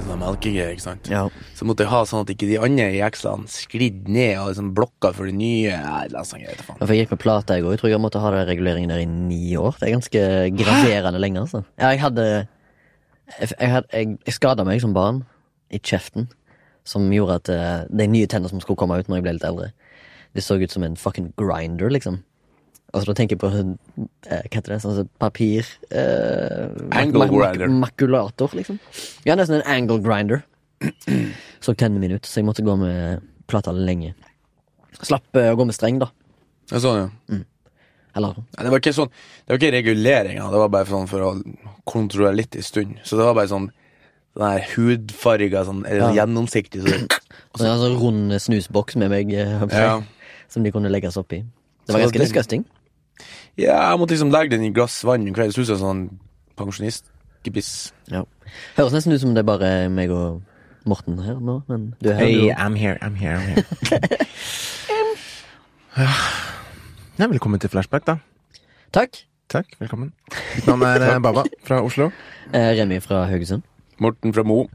snakkegear, sånn ikke sant. Ja. Så måtte jeg ha sånn at ikke de andre jekslene sklidde ned og liksom blokka for de nye. Nei, det er sånn, jeg vet da faen. For jeg gikk med plata i går. Jeg tror jeg måtte ha den reguleringen der i ni år. Det er ganske graverende lenge, altså. Ja, jeg hadde Jeg, jeg, hadde- jeg, jeg skada meg som barn i kjeften, som gjorde at eh, de nye tennene som skulle komme ut når jeg ble litt eldre, det så ut som en fucking grinder, liksom. Altså, da tenker jeg på eh, Hva heter det? Sånn som papir eh, Angle mak- mak- grinder. Makulator, liksom. Ja, nesten en angle grinder. Så tennene mine ut, så jeg måtte gå med plata lenge. Slapp eh, å gå med streng, da. Det er Sånn, ja. Mm. Eller Ja, Det var ikke sånn Det var ikke reguleringa, det var bare sånn for å kontrollere litt en stund. Så det var bare sånn den her hudfarga, sånn eller sånn Ja. gjennomsiktig så det, Og så en sånn rund snusboks med meg eh, håper jeg, Ja. Som de kunne legges oppi Det var Så ganske det- disgusting Ja, jeg måtte liksom legge den i glass vann en kveld. Det så ut som en sånn pensjonistgebiss. Høres nesten ut som det er bare meg og Morten her nå Men du er her Hey, du. I'm here, I'm here, I'm here. Ja, velkommen til Flashback, da. Takk Takk, velkommen. Mitt navn er eh, Baba fra Oslo. eh, Remi fra Haugesund Morten fra Mo.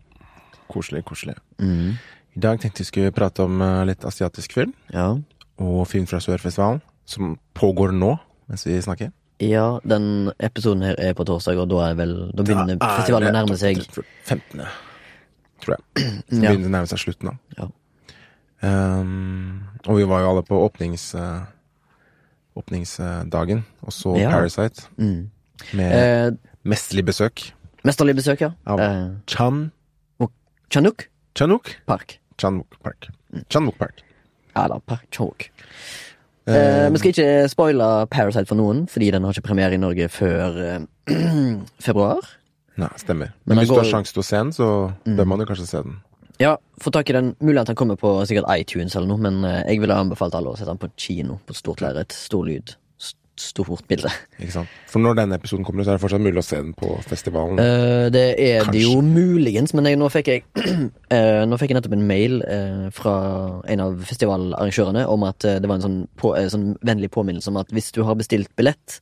Koselig, koselig. I dag tenkte vi skulle prate om eh, litt asiatisk film, Ja og film fra Sørfestivalen, som pågår nå, mens vi snakker. ja, den episoden her er på torsdag, og da, er vel, da begynner Da er festivalen å det nærme seg 15. tror jeg. Så Ja. begynner det å nærme seg slutten, da. Ja. Ehm, og vi var jo alle på åpnings, eh, åpningsdagen, og så Ja. Parasite, mm. med eh, mesterlig besøk Mesterlig besøk, ja av eh, Chan Chanuk Chanuk? Park Chanuk Park. Chanuk Park. Ja, da, Park Chanuk Eh, Vi skal ikke spoile Parasite for noen Fordi den har ikke premiere i Norge før eh, Februar Nei, stemmer. Men Men Mm. han hvis du har går- sjanse til å se den, så bør man jo kanskje se den. Ja, få tak i den. Mulig at han kommer på sikkert iTunes eller noe, men eh, jeg ville anbefalt alle å sette den på kino. På stort lerret, stor lyd, st- stort bilde. Ikke sant? For når denne episoden kommer ut, så er det fortsatt mulig å se den på festivalen. Eh, det er det Mm. Kanskje. jo muligens, men jeg, nå, fikk jeg, eh, nå fikk jeg nettopp en mail eh, fra en av festivalarrangørene om at eh, det var en sånn, på, eh, sånn vennlig påminnelse om at hvis du har bestilt billett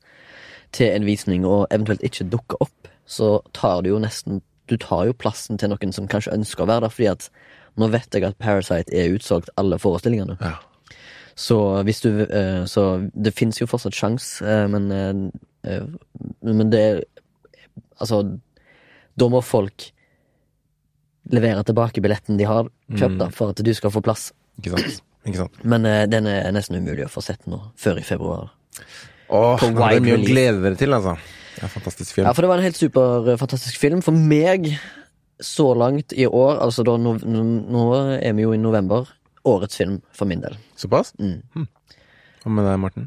til en visning og eventuelt ikke dukker opp, så tar du jo nesten Du tar jo plassen til noen som kanskje ønsker å være der, fordi at nå vet jeg at Parasite er utsolgt alle forestillingene. Ja. Så hvis du eh, Så det fins jo fortsatt sjans, eh, men eh, eh, Men det Altså, da må folk levere tilbake billetten de har kjøpt, da, for at du skal få plass. Ikke sant? Ikke sant? Men eh, den er nesten umulig å få sett nå, før i februar. Åh, På nå wide er det mye å release. glede dere til, altså. Det er en fantastisk film. Ja, for det var en helt superfantastisk film. For meg, så langt i år, altså da no, no, nå er vi jo i november, årets film for min del. Såpass? Mm. Hm. Hva med deg, Morten?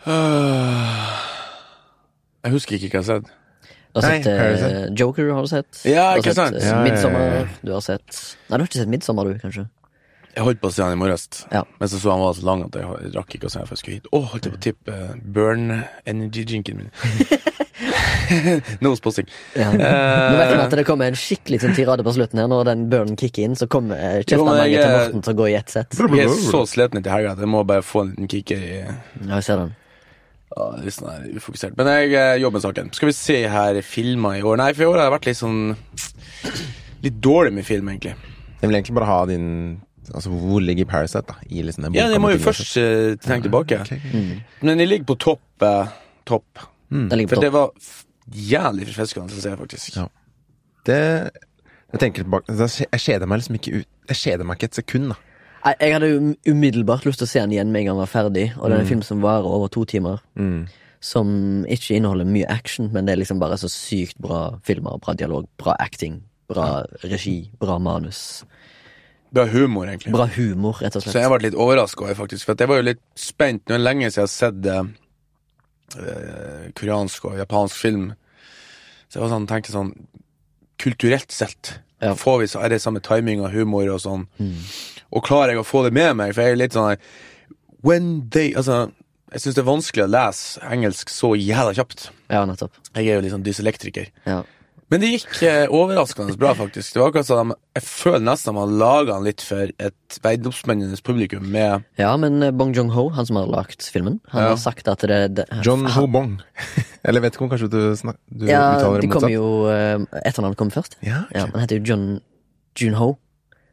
Jeg husker ikke hva jeg har sett. Du har Nei, sett eh, Parasite. Joker, har du sett? Ja, Du har ikke sant? sett, eh, Ja, ja, ja, ja. Midsommar, du har sett Nei, du har ikke sett Midsommar, du, kanskje? Jeg holdt på å se han i morges, Ja. men så så han var så lang at jeg rakk ikke å se han før jeg skulle hit. Å, holdt jeg på å tippe eh, burn energy-drinken min. no sponsing. Ja. Nå vet vi at Eh. det kommer en skikkelig sånn tirade på slutten her, når den burnen kicker inn, så kommer Jo, men eh, kjeftemanget jeg, til eh, Morten til å gå i ett sett. Jeg er så sliten etter helga at jeg må bare få en liten kicker i Ja, jeg ser den. Ja, det er litt sånn her ufokusert. Men jeg eh, jobber med saken. Skal vi se her filmer i år? Nei, for i år har jeg vært litt sånn Litt dårlig med film, egentlig. Jeg vil egentlig bare ha din Altså, hvor ligger Parasite, da? I liksom den Ja, boka jeg må med jo ting du har først eh, tenke tilbake. sett. Ok, ok. Men jeg ligger på topp. eh, topp. Den ligger Mm. For på det Mm. topp. var f- jævlig forfriskende å se, faktisk. Ja. sånn. Det Jeg tenker tilbake da skje- Jeg kjeder meg liksom ikke ut Jeg kjeder meg ikke et sekund, da. Nei, Jeg hadde jo um, umiddelbart lyst til å se den igjen med en gang den var ferdig, og Mm. det er en film som varer over to timer. Som ikke inneholder mye action, men det er liksom bare så sykt bra filmer, bra dialog, bra acting, bra regi, bra manus. Bra humor, egentlig. Bra humor, rett og Så jeg slett. ble litt overraska, faktisk. For at jeg var jo litt spent. Nå er det lenge siden jeg har sett eh, eh, koreansk og japansk film. Så jeg var sånn, tenkte sånn Kulturelt sett Ja. får vi så er det samme timing og humor og sånn. Og klarer jeg å få det med meg? For jeg er litt sånn her, When they Altså, jeg syns det er vanskelig å lese engelsk så jævla kjapt. Ja, nettopp. Jeg er jo litt sånn dyselektriker. Ja. Men det gikk eh, overraskende bra, faktisk. Det var akkurat som de, Jeg føler nesten de har laga den litt for et verdensomspennende publikum. Med Ja, men eh, Bong Jong-ho, han som har lagt filmen, han Ja. har sagt at det, det John han- Ho Bong. Eller vet ikke om kanskje du, snak, du Ja, det uttaler det kommer motsatt? jo eh, Etternavnet kommer først. Ja, ok. Ja, Han heter jo John Jun-ho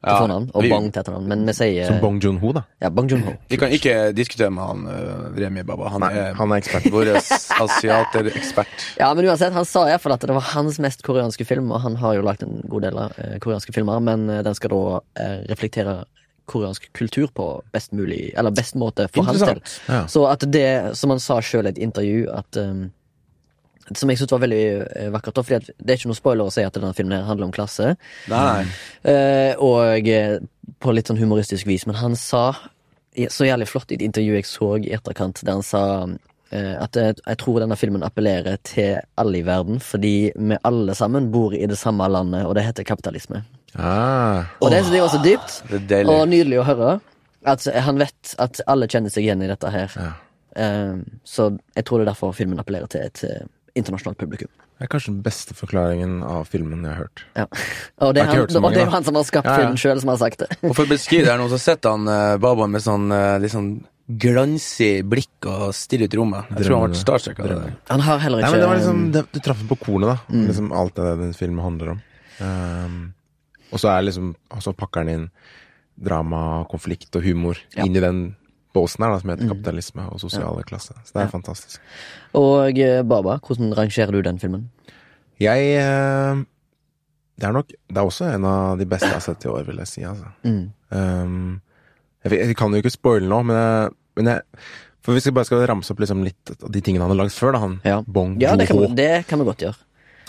til Ja, fornavn, og vi- Bong til etternavn, men vi sier Som Bong Joon-ho, da. ja, Bong Jun-ho. Vi kan ikke diskutere med han eh, Remi Baba. Han Nei, er, han er ekspert. vår asiaterekspert. Ja, men uansett, han sa iallfall at det var hans mest koreanske film, og han har jo lagd en god del av eh, koreanske filmer, men eh, den skal da eh, reflektere koreansk kultur på best mulig, eller best måte for hans del. Interessant. Ja. Så at det, som han sa sjøl i et intervju, at um, Som jeg syntes var veldig eh, vakkert, da, fordi at det er ikke noe spoiler å si at denne filmen her handler om klasse. Nei, nei. Eh, og eh, på litt sånn humoristisk vis, men han sa i- så jævlig flott i et intervju jeg så i etterkant, der han sa eh, at jeg, jeg tror denne filmen appellerer til alle i verden, fordi vi alle sammen bor i det samme landet, og det heter kapitalisme. Ah. Og det synes jeg var så dypt, Det er deilig. og nydelig å høre. At han vet at alle kjenner seg igjen i dette her. Ja. Eh, så jeg tror det er derfor filmen appellerer til et eh, internasjonalt publikum. Det er kanskje den beste forklaringen av filmen jeg har hørt. Ja. Og det er, Jeg har ikke han, hørt så og mange, det er da. jo han som har skapt Ja, ja. filmen sjøl, som har sagt det. Og for å beskrive det her nå, så sitter han eh, Babaen med sånn eh, litt sånn glansig blikk og stirrer ut i rommet. Jeg tror han ble starstruck av det der. Han har heller Nei, ikke um, Mm. men det var liksom, det, Du traff den på kornet, da. Liksom alt det den filmen handler om. Ehm, og så er liksom Og så pakker den inn drama, konflikt og humor Ja. Mm. inn i den båsen her, da, som heter kapitalisme og sosiale klasse. Så det er fantastisk. Og eh, Baba, hvordan rangerer du den filmen? Jeg eh, Det er nok Det er også en av de beste jeg har sett i år, vil jeg si. Altså. Mm. Ehm, jeg, vet- jeg kan jo ikke spoile nå, men, jeg, men jeg, For hvis jeg bare skal ramse opp liksom litt av de tingene han har lagd før, da. Han Ja. Bong Ja, det kan, Joon-ho. vi, det kan vi godt gjøre.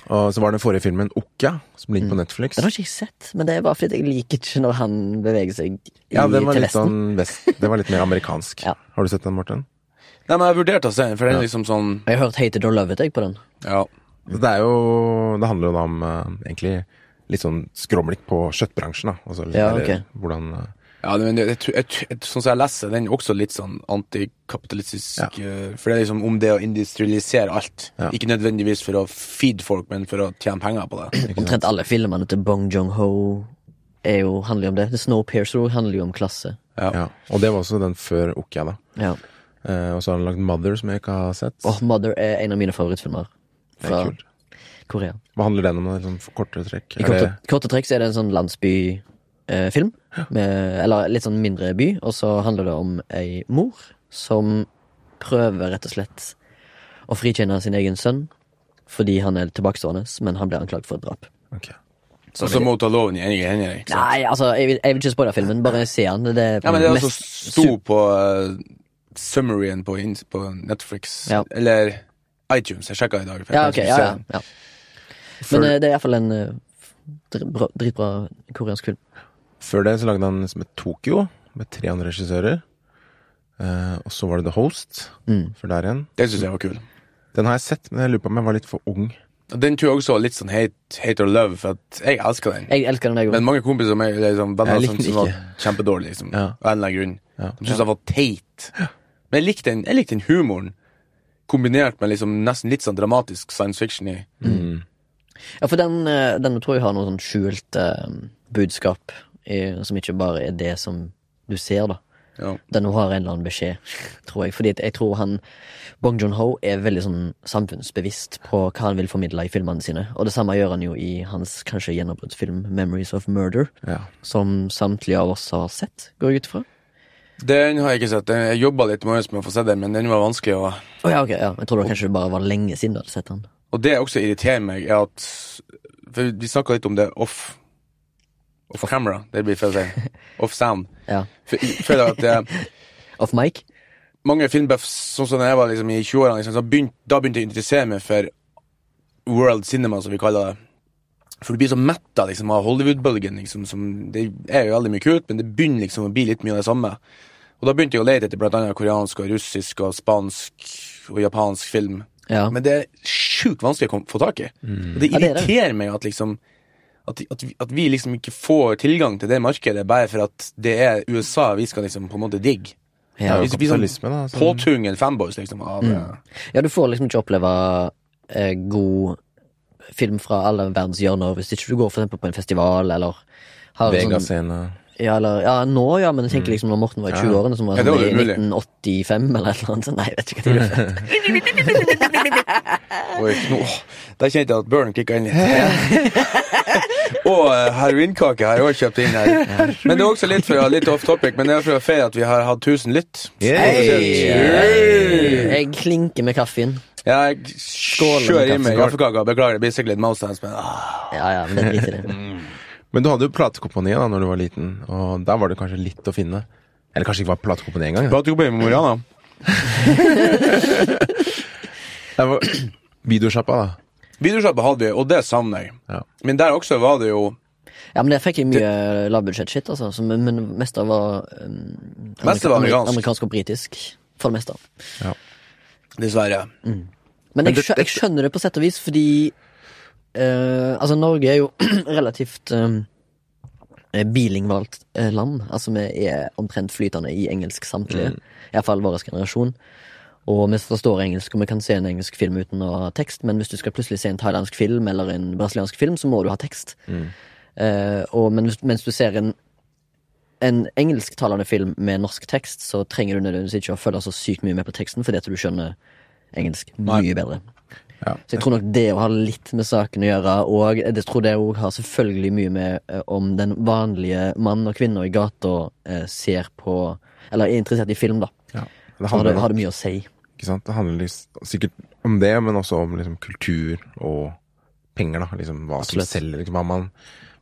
Og så var den forrige filmen Okja, som ligger på Netflix. Den har ikke jeg sett, men det er bare fordi jeg liker ikke når han beveger seg i, Ja, den var til litt Vesten. sånn vest, det var litt mer amerikansk. Ja. Har du sett den, Morten? Nei, men jeg vurderte å se den, for den er liksom sånn Og Jeg har hørt Hated or Loved jeg, på den. Ja. Det er jo Det handler jo da om eh, egentlig litt sånn skråblikk på kjøttbransjen, da. Altså, Ja, eller ok. hvordan eh, Ja, men jeg, jeg, tror- jeg, tror- jeg, sånn som jeg leser, den er også litt sånn antikapitalistisk. eh, For det er liksom om det å industrialisere alt. Ja. Ikke nødvendigvis for å feed folk, men for å tjene penger på det. Omtrent alle filmene til Bong Jong-ho er jo- handler jo om det. The Snowpiercer også handler jo om klasse. Ja. Ja. Og det var også den før Okja, da. Ja. Eh, og så har han lagd Mother, som jeg ikke har sett. Og Mother er en av mine favorittfilmer det er fra kult. Korea. Hva handler den om? da? Liksom, for kortere trekk? I Er det, korte, korte trekk så er det en sånn landsbyfilm, eh, film, med- eller litt sånn mindre by, og så handler det om ei mor som prøver rett og slett å frikjenne sin egen sønn fordi han er tilbakestående, men han blir anklagd for et drap. ok. Og så må hun ta loven i egne hender. ikke sant? Nei, altså, jeg vil, jeg vil ikke spoile filmen, bare se han. Det er Ja, men det er altså mest sto på eh, summaryen på, ins- på Netflix. Ja. Eller iTunes. Jeg sjekka i dag. for jeg Ja, kan ok, ikke ja, se ja, den. ja. Før, Men eh, det er iallfall en eh, dr- bra- dritbra koreansk film. før det så lagde han liksom et Tokyo med tre andre regissører. Eh, og så var det The Host, Mm. for der igjen. Den syns jeg var kul. Den har jeg sett, men jeg lurer på om jeg var litt for ung. Og Den tror jeg også var litt sånn hate, hate or love, for at jeg elsker den. Jeg elsker den, jeg Men òg. mange kompiser som er liksom, venner Jeg likte som, den som var ikke. kjempedårlige, liksom. Ja. Av en eller annen grunn. Ja. De syntes jeg var teit. Men jeg likte, den, jeg likte den humoren, kombinert med liksom nesten litt sånn dramatisk science fiction i. Mm. Ja, for den, eh, den tror jeg har noe sånn skjult eh, budskap, i, som ikke bare er det som du ser, da. Ja. Den har en eller annen beskjed, tror jeg. Fordi at jeg tror han Bong Joon-ho er veldig sånn samfunnsbevisst på hva han vil formidle i filmene sine. Og det samme gjør han jo i hans kanskje gjennombruddsfilm 'Memories of Murder', Ja. som samtlige av oss har sett, går jeg ut ifra. Den har jeg ikke sett. Jeg jobba litt i morges med å få se den, men den var vanskelig å Å ja, ok, ja. Jeg tror det kanskje bare var lenge siden du hadde sett han. Og det også irriterer meg, er at For vi snakka litt om det off Off camera, det blir feil å si. Off sound. Ja. For jeg føler at eh, Off mic? mange filmbuffs, sånn som da jeg var liksom, i 20-årene, liksom, så begynt, da begynte jeg å interessere meg for world cinema, som vi kaller det. For du blir så metta liksom, av Hollywood-bølgen. Liksom, som- det er jo veldig mye kult, men det begynner liksom å bli litt mye av det samme. Og da begynte jeg å lete etter blant annet koreansk og russisk og spansk og japansk film. Ja. Men det er sjukt vanskelig å kom- få tak i. Mm. Og det Ja, det er det. irriterer meg at liksom at, at, vi, at vi liksom ikke får tilgang til det markedet bare for at det er USA vi skal liksom på en måte digge. Det Ja. er jo Hvis vi sånn kapitalisme, da. Mm. som- Påtvungen fanboys, liksom. Av, eh, ja, du får liksom ikke oppleve eh, god film fra alle verdens hjørner. Hvis ikke du går for eksempel på en festival eller har en sånn, Vegascene. ja, eller, ja, nå, ja, men jeg tenker liksom når Morten var i Ja. 20-årene, som var Mm. Ja, sånn, det var i umulig. 1985 eller et eller annet. sånn. Nei, jeg vet ikke hva det er. Oi, nå, åh, der kjente jeg at burn kicka inn litt. og eh, heroinkake har jeg også kjøpt inn her. Men det er også litt, fra, litt off topic, men det er for å feire at vi har hatt 1000 lytt. Hey! Jeg klinker med kaffen. Ja, jeg kjører inn med kaffekaka. Beklager, det blir sikkert litt mouse hands, men ah, Ja, ja, men det driter jeg i. Men du hadde jo platekompaniet da når du var liten, og der var det kanskje litt å finne. Eller kanskje ikke var platekompaniet engang. da. Prater du på med Moriana? Det var videosjappa, da. Videosjappa hadde vi, og det savner jeg. Ja. Men der også var det jo Ja, men der fikk jeg mye lavbudsjett-shit, altså. Som, men mest av var um, Mest av var amerikansk. amerikansk og britisk. For det meste. Dessverre. Men jeg, det- skjø- jeg skjønner det på sett og vis, fordi eh, Altså, Norge er jo relativt um, bilingvalt eh, land. Altså, vi er omtrent flytende i engelsk Mm. samtlige. I hvert fall vår generasjon. Og vi forstår engelsk, og vi kan se en engelsk film uten å ha tekst, men hvis du skal plutselig se en thailandsk film eller en brasiliansk film, så må du ha tekst. Eh, og men, hvis- mens du ser en en engelsktalende film med norsk tekst, så trenger du nødvendigvis ikke å følge så sykt mye med på teksten, fordi at du skjønner engelsk mye bedre. Ja. Så jeg tror nok det å ha litt med saken å gjøre, og jeg tror det òg har selvfølgelig mye med eh, om den vanlige mann og kvinne i gata eh, ser på Eller er interessert i film, da. Ja. Så Det har det, handler, har det mye å si. ikke sant? Det handler liksom, sikkert om det, men også om liksom, kultur og penger, da. Liksom, hva som Absolutt. selger. Liksom, hva, man,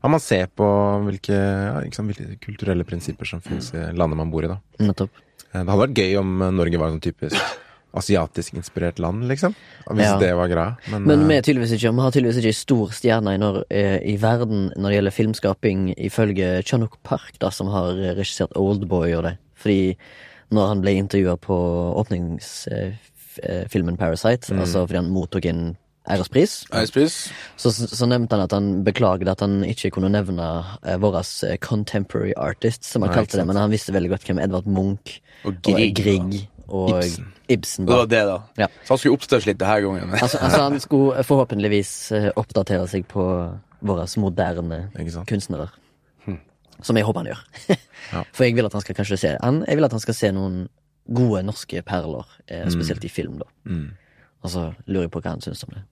hva man ser på, hvilke, ja, ikke sant? hvilke kulturelle prinsipper som finnes i landet man bor i, da. Nettopp. Eh, Det hadde vært gøy om eh, Norge var sånn typisk asiatisk inspirert land, liksom. Hvis Ja. det var greia. Men, Men vi, eh, er tydeligvis ikke, vi har tydeligvis ikke en stor stjerne i, Nor eh, i verden når det gjelder filmskaping, ifølge Chanuk Park, da, som har eh, regissert Oldboy og det. Fordi når han ble intervjua på eh, åpningsfilmen Parasite, Mm. altså fordi han mottok en ærespris, Eispris? så, så nevnte han at han beklaget at han ikke kunne nevne eh, våre eh, contemporary artists, som han Nei, ikke kalte det, men han visste veldig godt hvem Edvard Munch Og og Grieg, Grieg og Ibsen, Ibsen. Det var det, da. Ja. Så han skulle oppstørs litt denne gangen. Men. Altså, altså han skulle forhåpentligvis eh, oppdatere seg på våre moderne Ikke sant? Hm. kunstnere. Som jeg håper han gjør. Ja. For jeg vil at han skal kanskje se han, Jeg vil at han skal se noen gode norske perler, eh, Hm. spesielt i film, da. Mm. Og så lurer jeg på hva han syns om det.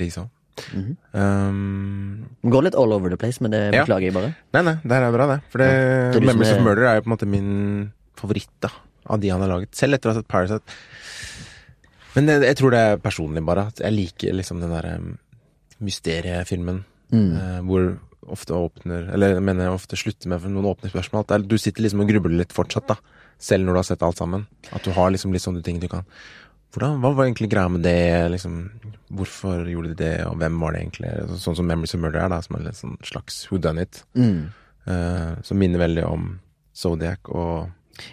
Liksom. Mhm. um, Han Går litt all over the place, men det Ja. beklager jeg bare. nei, nei, det her er bra, det. For det, det er du som Memories er- of Murder er jo på en måte min favoritt da, av de han har laget. Selv etter å ha sett Parasite. Men jeg, jeg tror det er personlig, bare. At jeg liker liksom den derre um, mysteriefilmen Mm. eh, hvor ofte åpner Eller jeg mener jeg ofte slutter med noen åpne spørsmål. At det er- du sitter liksom og grubler litt fortsatt, da. Selv når du har sett alt sammen. At du har liksom litt sånne ting du kan hvordan, Hva var egentlig greia med det? Liksom, hvorfor gjorde de det, og hvem var det egentlig? Så- Sånn som Memories of Murder er, da, som er litt sånn slags who done it. Eh, som minner veldig om Zodiac og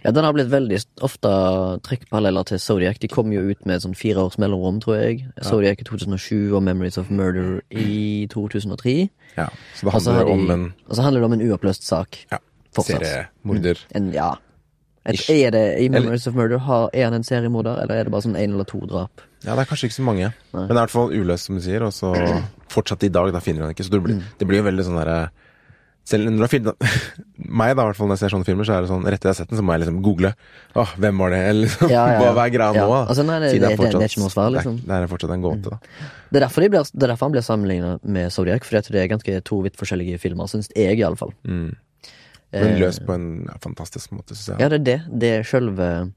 Ja, Den har blitt veldig ofte trukket paralleller til Zodiac. De kom jo ut med sånn fire års mellomrom, tror jeg. Zodiac i 2007 og Memories of Murder i 2003. Ja. Så det Og så Altså, handler har de- om en og så handler det om en uoppløst sak. ja, Fortsatt. Mm. seriemorder. En, ja. Et, Ish. er det i Memories of Murder har, Er han en seriemorder, eller er det bare sånn én eller to drap? Ja, det er kanskje ikke så mange. Men det er i hvert fall uløst, som du sier. Og så fortsatt i dag, da finner han ikke. Så det blir, Mm. det blir jo veldig sånn derre selv når du har film, meg, da, i hvert fall når jeg ser sånne filmer, så er det sånn rett til jeg har sett den, så må jeg liksom google. Åh, hvem var det? Eller liksom, Ja, ja, ja. hva er greia Ja. nå? da? Altså, nei, det- Siden det- det- det er ikke noe svar, det er- liksom. Det er fortsatt en gåte, da. Det er derfor, de blir, det er derfor han blir sammenligna med Zodiac, fordi at det er ganske to vidt forskjellige filmer, syns jeg iallfall. Mm. Men løst på en ja, fantastisk måte, syns jeg. Mm. Eh, Ja, det er det. Det er sjølve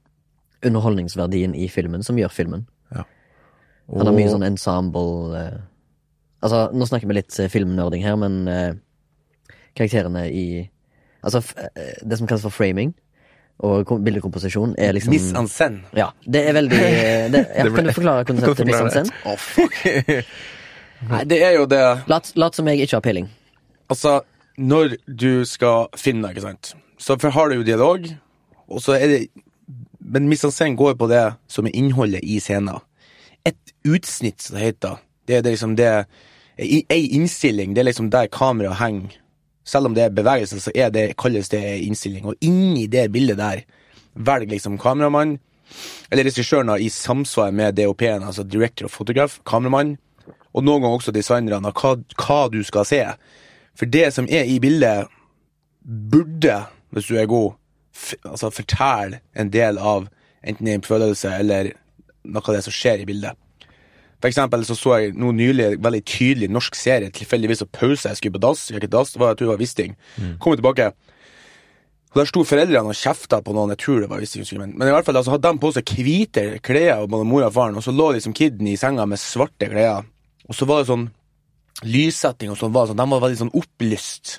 underholdningsverdien i filmen som gjør filmen. Han har mye sånn ensemble eh. Altså, nå snakker vi litt eh, filmnerding her, men eh, karakterene i Altså, f eh, det som kalles for framing og kom- bildekomposisjon, er liksom Miss Ansen. Ja, det er veldig eh, det, ja, Det ble- Kan du forklare konseptet Hvordan ble Miss det? Hansen? Å, fuck. Nei, det er jo det Lat, lat som jeg ikke har peiling. Altså, når du skal finne, ikke sant Så for har du jo dialog Og så er det Men misansen går på det som er innholdet i scenen Et utsnitt, som det heter Det er det liksom det i- Ei innstilling, det er liksom der kameraet henger Selv om det er bevegelse, så er det, kalles det ei innstilling Og inni det bildet der Velg liksom kameramann Eller regissøren da, i samsvar med DOP-en Altså director og fotograf, kameramann og noen ganger også designerne, hva, hva du skal se. For det som er i bildet, burde, hvis du er god, f altså fortelle en del av enten en følelse eller noe av det som skjer i bildet. For eksempel så, så jeg nå nylig en veldig tydelig norsk serie, tilfeldigvis så pause jeg skulle på dass, jeg gikk i dass, det var, jeg tror det var Wisting. Kommer tilbake, og der sto foreldrene og kjefta på noen, jeg tror det var Wisting-filmen. Men i hvert fall, altså, hadde de på seg hvite klær, både mor og faren, og så lå liksom kiden i senga med svarte klær. Og så var det sånn lyssetting og sånn, var sånn, de var veldig sånn opplyst.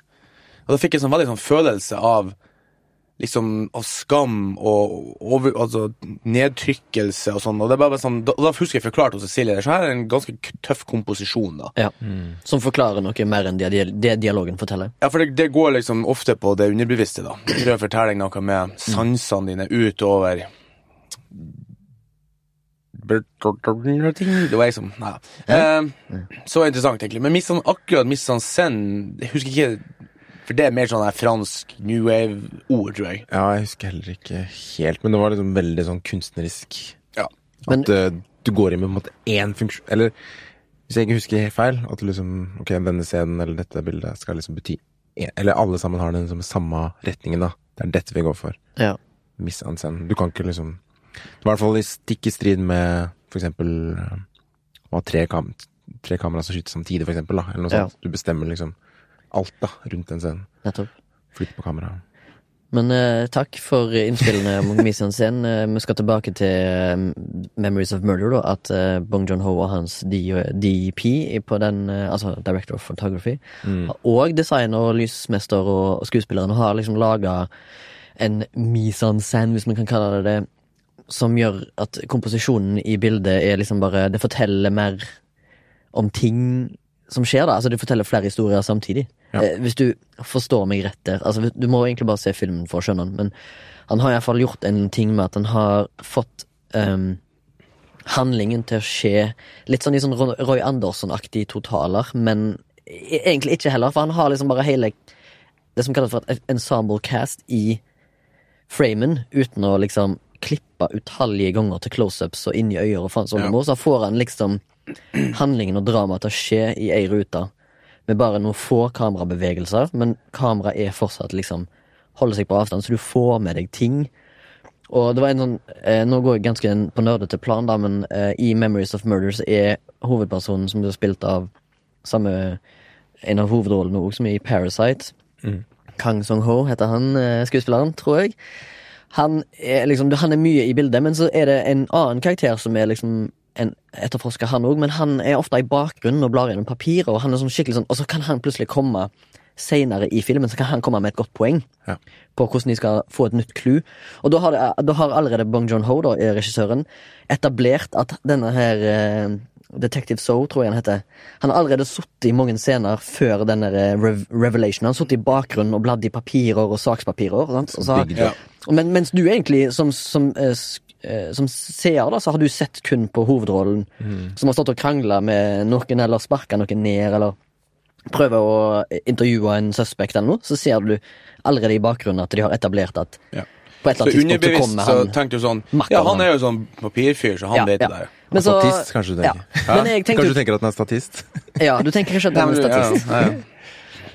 Og da fikk jeg sånn veldig sånn følelse av liksom av skam og over, altså, nedtrykkelse og sånn. Og det er bare sånn, da, da husker jeg forklart hos Cecilie så her er en ganske k- tøff komposisjon. da. Ja. Som forklarer noe mer enn dia- det dialogen forteller. Ja, for det, det går liksom ofte på det underbevisste. da. Prøv å fortelle noe med sansene dine utover Det var liksom Nei. Eh, så interessant, egentlig. Men Miss San- akkurat Miss Sansen Jeg husker ikke For det er mer sånn her fransk new wave-ord, tror jeg. Ja, jeg husker heller ikke helt, men det var liksom veldig sånn kunstnerisk. Ja. Men- At eh, du går inn med på en måte én funksjon Eller hvis jeg ikke husker helt feil, at du liksom Ok, denne scenen eller dette bildet skal liksom bety en- Eller alle sammen har den som samme retningen, da. Det er dette vi går for. Ja. Misansen. Du kan ikke liksom Det var i hvert fall i stikk i strid med for eksempel eh, å ha tre, kam tre kamera som skyter samtidig, for eksempel, da. Eller noe Ja. sånt. Du bestemmer liksom alt, da, rundt den scenen. Nettopp. Flytt på kameraet. Men eh, takk for innspillene om Mise en scene. Eh, vi skal tilbake til eh, Memories of Murder, da, at eh, Bong John-ho og hans D- DP i- på den, eh, altså Director of Photography, og designer og lysmester og, og skuespilleren har liksom laga en mise en scene, hvis man kan kalle det det, som gjør at komposisjonen i bildet er liksom bare Det forteller mer om ting som skjer, da. Altså, det forteller flere historier samtidig. Eh, hvis du forstår meg rett der altså, Du må egentlig bare se filmen for å skjønne den, men han har iallfall gjort en ting med at han har fått ehm, handlingen til å skje litt sånn i sånn Ro- Roy Andersson-aktig totaler, men e- egentlig ikke heller, for han har liksom bare hele det som kalles for et ensemble cast i framen, uten å liksom klippe utallige ganger til close-ups og inn i øyer og faen sånn Ja. noe, så får han liksom handlingen og dramaet til å skje i ei rute. Med bare noen få kamerabevegelser, men kameraet er fortsatt liksom holder seg på avstand, så du får med deg ting. Og det var en sånn eh, Nå går jeg ganske inn på nerdete plan, da, men eh, i Memories of Murders er hovedpersonen som blir spilt av samme En av hovedrollene òg, som er i Parasite. Kang Song-ho heter han, eh, skuespilleren, tror jeg. Han er, liksom, han er mye i bildet, men så er det en annen karakter som er liksom en etterforsker, han òg, men han er ofte i bakgrunnen og blar gjennom papirer, og han er sånn skikkelig sånn Og så kan han plutselig komme seinere i filmen, så kan han komme med et godt poeng Ja. på hvordan de skal få et nytt clue. Og da har, det, da har allerede Bong John-ho, da, er regissøren, etablert at denne her eh, Detective So, tror jeg han heter. Han har allerede sittet i mange scener før denne eh, rev revelation. Han har sittet i bakgrunnen og bladd i papirer og sakspapirer. Sant? Og så har, Digg, Ja. men, mens du egentlig som, som, eh, sk- eh, som seer, da, så har du sett kun på hovedrollen, som har stått og krangla med noen, eller sparka noen ned, eller prøver å eh, intervjue en suspect eller noe, så ser du allerede i bakgrunnen at de har etablert at Ja. på et Så eller annet tidspunkt så underbevisst kommer så han tenkte du sånn Makta Ja, han han. er jo sånn papirfyr, så han vet det der. Men så- Statist, kanskje du Altså, ja. tenker. Men jeg tenkte, Kanskje du tenker at den er statist? Ja, du tenker kanskje at han er Ja, statist. ja, ja.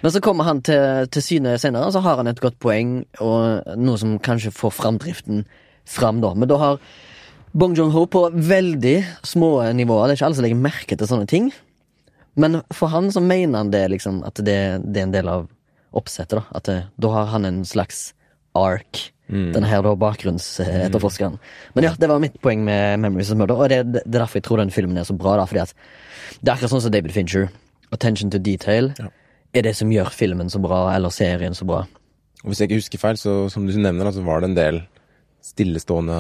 Men så kommer han til, til syne senere, og så har han et godt poeng, og noe som kanskje får framdriften fram, da. Men da har Bong Joon-ho på veldig små nivåer, det er ikke alle som legger merke til sånne ting, men for han så mener han det, liksom, at det, det er en del av oppsettet, da. At det, da har han en slags ark. Mm. Den her da bakgrunnsetterforskeren. Men ja, det var mitt poeng med Memories of Murder. Og det, det er derfor jeg tror den filmen er så bra. Da, fordi at det er akkurat sånn som David Fincher. Attention to detail er det som gjør filmen så bra, eller serien så bra. Og hvis jeg ikke husker feil, så som du nevner, da, så var det en del stillestående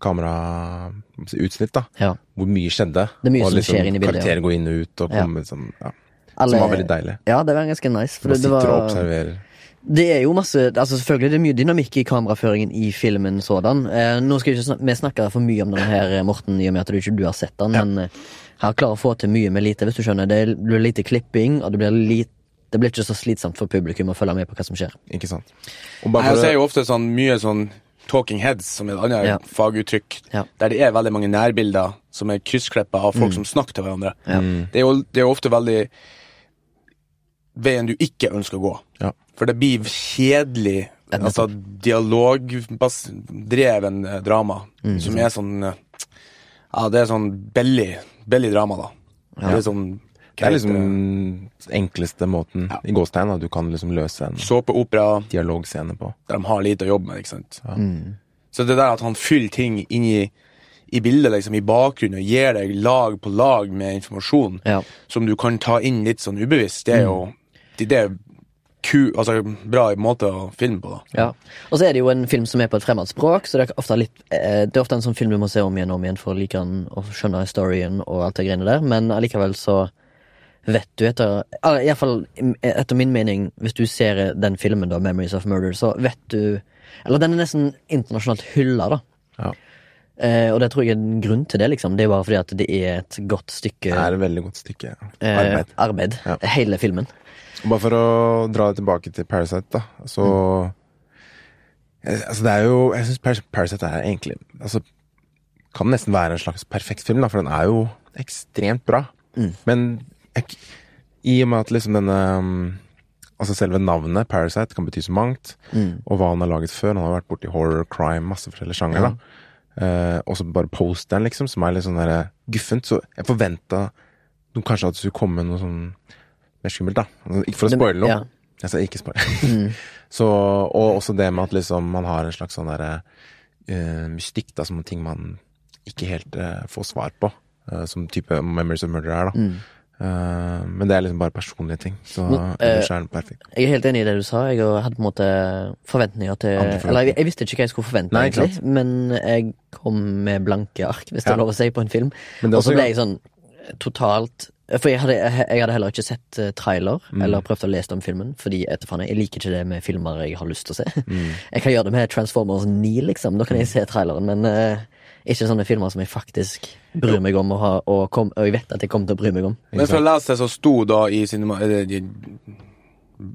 kamerautsnitt, da. Ja. Hvor mye skjedde. Det er mye og som skjer inn i bildet, Karakterer går inn og ut og Ja. kommer sånn ja. Alle- Som var veldig deilig. Ja, det var ganske nice. For Man det, det, sitter og var, observerer. det er jo masse altså Selvfølgelig det er mye dynamikk i kameraføringen i filmen sådan. Eh, nå skal vi ikke snak vi snakke for mye om den her, eh, Morten, i og med at du ikke du har sett den, men eh, her klarer å få til mye med lite, hvis du skjønner. Det blir lite klipping, og det blir lite det blir ikke så slitsomt for publikum å følge med på hva som skjer. Ikke sant. Og Nei, bare Jeg for ser å jo ofte sånn mye sånn Talking Heads, som er et annet Ja. faguttrykk, Ja. der det er veldig mange nærbilder som er kryssklippa av Mm. folk som snakker til hverandre. Det, er jo, det er jo ofte veldig veien du ikke ønsker å gå. Ja. For det blir kjedelig, altså dialogdreven eh, drama, Mm. som er sånn eh, Ja, det er sånn billig, billig drama, da. Det er sånn Det er liksom den enkleste måten i gåstegn da, du kan liksom løse en såpeopera dialogscene på. der de har lite å jobbe med. ikke sant? Så det der at han fyller ting inn i, i bildet, liksom, i bakgrunnen, og gir deg lag på lag med informasjon Ja. som du kan ta inn litt sånn ubevisst, det er jo det, det er ku, altså, bra måte å filme på. da. Ja. Og så er det jo en film som er på et fremmed språk, så det er ofte, litt, eh, det er ofte en sånn film du må se om igjen og om igjen for å like den og skjønne historien og alt det greiene der, men allikevel så vet du etter eller i hvert fall mm, etter min mening, hvis du ser den filmen, da, 'Memories of Murder', så vet du Eller den er nesten internasjonalt hylla, da. Ja. Eh, og det tror jeg er en grunn til det, liksom. Det er jo bare fordi at det er et godt stykke Det er et veldig godt stykke eh, arbeid. arbeid Ja. Hele filmen. Bare for å dra det tilbake til Parasite, da. Så Eh, Altså, det er jo Jeg syns Parasite er egentlig Altså, kan nesten være en slags perfekt film, da, for den er jo ekstremt bra. Men jeg, k- i og med at liksom denne um, Altså selve navnet Parasite kan bety så mangt, og hva han har laget før. Han har vært borti horror, crime, masse forskjellige sjanger, da. Eh, og så bare posteren, liksom, som er litt sånn der guffent. Så jeg forventa noe- kanskje at det skulle komme noe sånn mer skummelt, da. Altså, Ikke for å Men- spoile noe. ja. Mm. Altså, ikke spoile. så, og også det med at liksom man har en slags sånn derre eh, mystikk, da, som ting man ikke helt eh, får svar på. eh, som type Memories of Murder er, da. Mm. Eh, men det er liksom bare personlige ting. Så Men, eh, ellers er den perfekt. Jeg er helt enig i det du sa. Jeg hadde på en måte forventninger til Andre forventninger. Eller jeg, jeg visste ikke hva jeg skulle forvente, Nei, ikke egentlig, men jeg kom med blanke ark, hvis det Ja. er lov å si, på en film. Men det er Og så også- ble jeg sånn totalt For jeg hadde, jeg, jeg hadde heller ikke sett eh, trailer Mm. eller prøvd å lese om filmen, fordi jeg, faen, jeg liker ikke det med filmer jeg har lyst til å se. Mm. Jeg kan gjøre det med Transformers 9, liksom. Da kan jeg se traileren, men eh, ikke sånne filmer som jeg faktisk bryr meg om, og, har, og, kom, og jeg vet at jeg kommer til å bry meg om. Men for å lese det som sto da i cinema, eller, i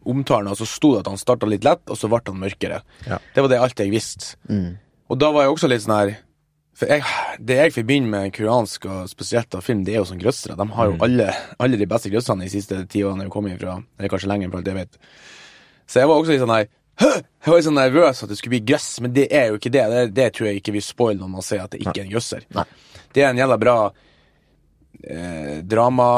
omtalen, så sto det at han starta litt lett, og så ble han mørkere. Ja. Det var det alt jeg visste. Og da var jeg også litt sånn her for jeg, Det jeg forbinder med koreansk og spesielt av film, det er jo sånn grøssere. De har jo alle, alle de beste grøsserne de siste ti årene jeg kom ifra. Eller kanskje lenger, for alt jeg vet. Så jeg var også litt sånn her «Hø!» Jeg var litt sånn nervøs at det skulle bli grøss, men det er jo ikke det. Det, det tror jeg ikke vi spoiler når man sier at det ikke er en grøsser. Nei. Det er en jævla bra eh, drama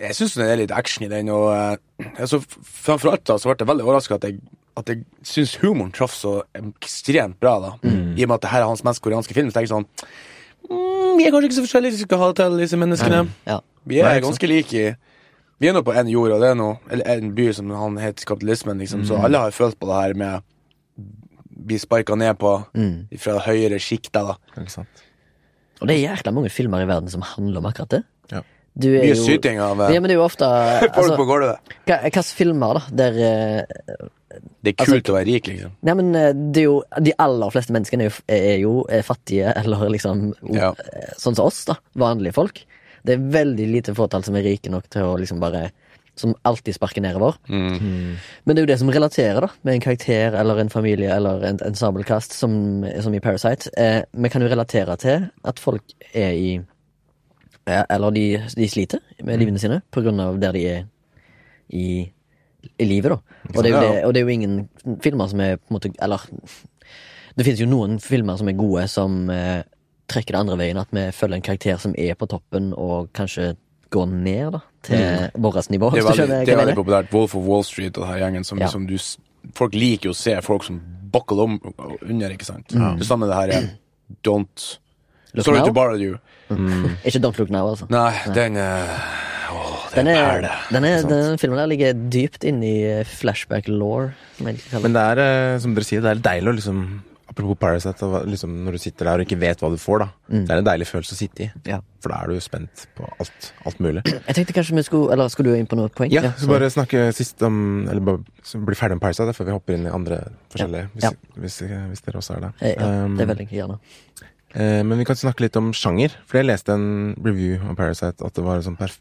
Jeg syns det er litt action i den, og eh, altså, f- framfor alt da, så ble jeg veldig overraska at jeg, at jeg syns humoren traff så ekstremt bra, da. Mm. I og med at det her er hans mest koreanske film, så tenker jeg sånn mm, Vi er kanskje ikke så forskjellige som skal ha det til, disse menneskene. Ja. Vi er Nei, ikke sant. ganske like. i- Vi er nå på én jord, og det er nå Eller en by som han heter kapitalismen, liksom. Så Mm. alle har følt på det her med bli sparka ned på Mm. fra høyere sjikter, da. Ikke sant? Og det er jækla mange filmer i verden som handler om akkurat det. Ja. Du er Mye jo- syting av eh, Ja, men det er jo ofte folk altså, på gulvet. hva- Hvilke filmer, da, der eh, Det er Altså, kult å være rik, liksom. Nei, men eh, det er jo De aller fleste menneskene er jo, er jo eh, fattige, eller liksom o- Ja. eh, Sånn som oss, da. Vanlige folk. Det er veldig lite fåtall som er rike nok til å liksom bare Som alltid sparker nedover. Mm. Mm. Men det er jo det som relaterer, da, med en karakter eller en familie eller en ensemblecast, som, som i Parasite. Eh, vi kan jo relatere til at folk er i eh, Eller de, de sliter med Mm. livene sine på grunn av der de er i i livet, da. Og det, er jo Ja. det, og det er jo ingen filmer som er på en måte Eller det finnes jo noen filmer som er gode, som eh, trekker det andre veien. At vi følger en karakter som er på toppen, og kanskje går ned da til vårt nivå. Mm. Det er hvis veldig, du skjønner hva det jeg er veldig mener. populært. Wolf of Wall Street og denne gjengen som, Ja. som du s- Folk liker jo å se folk som buckler om under, ikke sant. Det samme det her er Don't Mm. Look Sorry now? to borrow you. Ikke Don't Look Now, altså. Nei, den eh, Åh, det Den, er en er, perle. den, er, sant? den filmen der ligger dypt inni flashback law. Men det er, eh, som dere sier, det er deilig å liksom Apropos Parasite, og hva- liksom, når du sitter der og ikke vet hva du får, da. Det er en deilig følelse å sitte i. Mm. Ja. For da er du spent på alt, alt mulig. Jeg tenkte kanskje vi skulle Eller skulle du inn på noe poeng? Ja, så så- bare snakke sist om Eller bare så bli ferdig med Parasite, da, før vi hopper inn i andre forskjellige, Ja. Hvis, hvis, hvis dere også er det. Eh, ja, Um, det er veldig gjerne. Eh, men vi kan snakke litt om sjanger. For jeg leste en review av Parasite at det var en sånn perf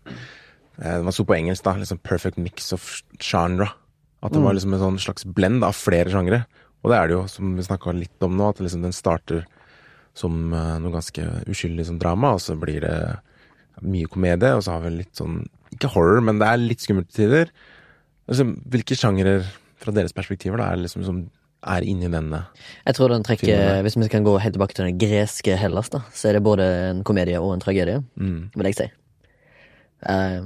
eh, Det var sto på engelsk, da. Liksom perfect mix of genre. At det var liksom en sånn slags blend av flere sjangere. Og det er det jo, som vi snakka litt om nå, at liksom den starter som eh, noe ganske uskyldig som drama, og så blir det mye komedie, og så har vi litt sånn Ikke horror, men det er litt skummelt til tider. Altså, hvilke sjangere fra deres perspektiver da, er det liksom som er inni denne? Jeg tror den trekker Filmene. Hvis vi kan gå helt tilbake til den greske Hellas, da, så er det både en komedie og en tragedie, Mm. vil jeg si. Eh,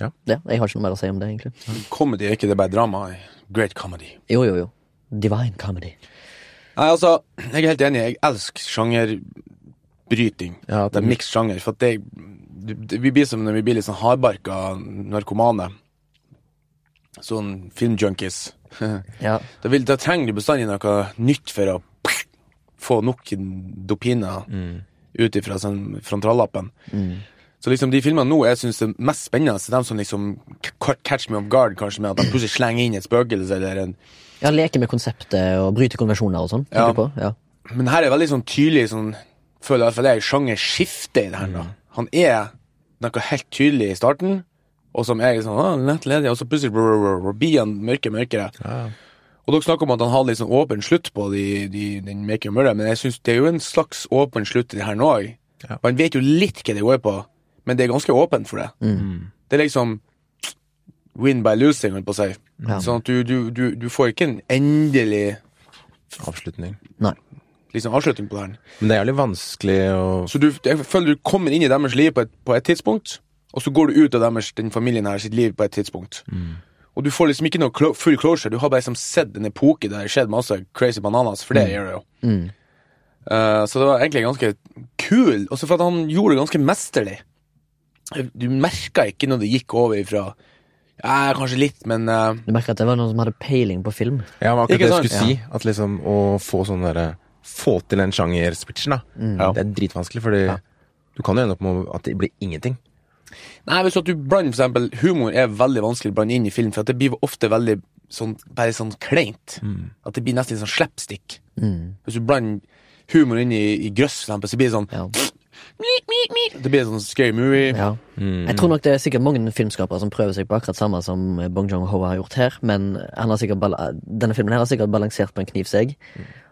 Ja. Jeg har ikke noe mer å si om det, egentlig. Comedy er ikke det bare drama. Great comedy. Jo, jo, jo. Divine comedy. Nei, altså, jeg er helt enig. Jeg elsker sjangerbryting. Ja, at Det er det- mixed sjanger. For at det, det, vi blir som når vi blir litt sånn hardbarka narkomane. Sånn filmjunkies. da, Ja. vil, da trenger du bestandig noe nytt for å få nok dopiner ut ifra sånn, frontallappen. Så liksom de filmene nå jeg synes er mest spennende, er de som liksom k- catch me off guard, kanskje, med at de plutselig slenger inn et spøkelse eller en ja, leke med konseptet og bryte konvensjoner og sånn. Ja. tenker du på? Ja. Men her er veldig sånn tydelig sånn, Føler i hvert fall jeg sjangerskifte i det her da. Han er noe helt tydelig i starten Og som er litt sånn «Å, lett ledig Og så plutselig brr, brr, brr, blir han mørkere mørkere Og dere snakker om at han har litt sånn åpen slutt På de, de, den Making of Murder Men jeg synes det er jo en slags åpen slutt i det her nå også. Ja. Man vet jo litt hva det går på Men det er ganske åpent for det Det er liksom Win by losing, holdt på å si Ja. Sånn at du, du, du, du får ikke en endelig Avslutning. Nei. liksom, avslutning på det her Men det er jævlig vanskelig å Så du, jeg føler du kommer inn i deres liv på et, på et tidspunkt, og så går du ut av deres, den familien her sitt liv på et tidspunkt. Og du får liksom ikke noe clo full closure. Du har bare liksom sett en epoke der det skjedde masse crazy bananas, for det gjør det jo. Eh, så det var egentlig ganske kul, også for at han gjorde det ganske mesterlig. Du merka ikke når det gikk over ifra Ja, kanskje litt, men eh, Du merker at det var noen som hadde peiling på film. Ja, men akkurat Ikke det jeg sant? skulle si. At liksom å få sånn derre Få til den sjangerswitchen, da. Ja. Det er dritvanskelig, fordi du kan jo ende opp med at det blir ingenting. Nei, hvis at du blander for eksempel Humor er veldig vanskelig å blande inn i film, for at det blir ofte veldig sånn, bare sånn kleint. At det blir nesten sånn slapstick. Mm. Hvis du blander humor inn i, i grøss, for eksempel, så blir det sånn Ja. Det blir sånn scary movie. Ja. Jeg tror nok det er sikkert mange filmskapere som prøver seg på akkurat samme som Bong Jong-ho har gjort her, men han har sikkert bala- denne filmen her har sikkert balansert på en knivsegg,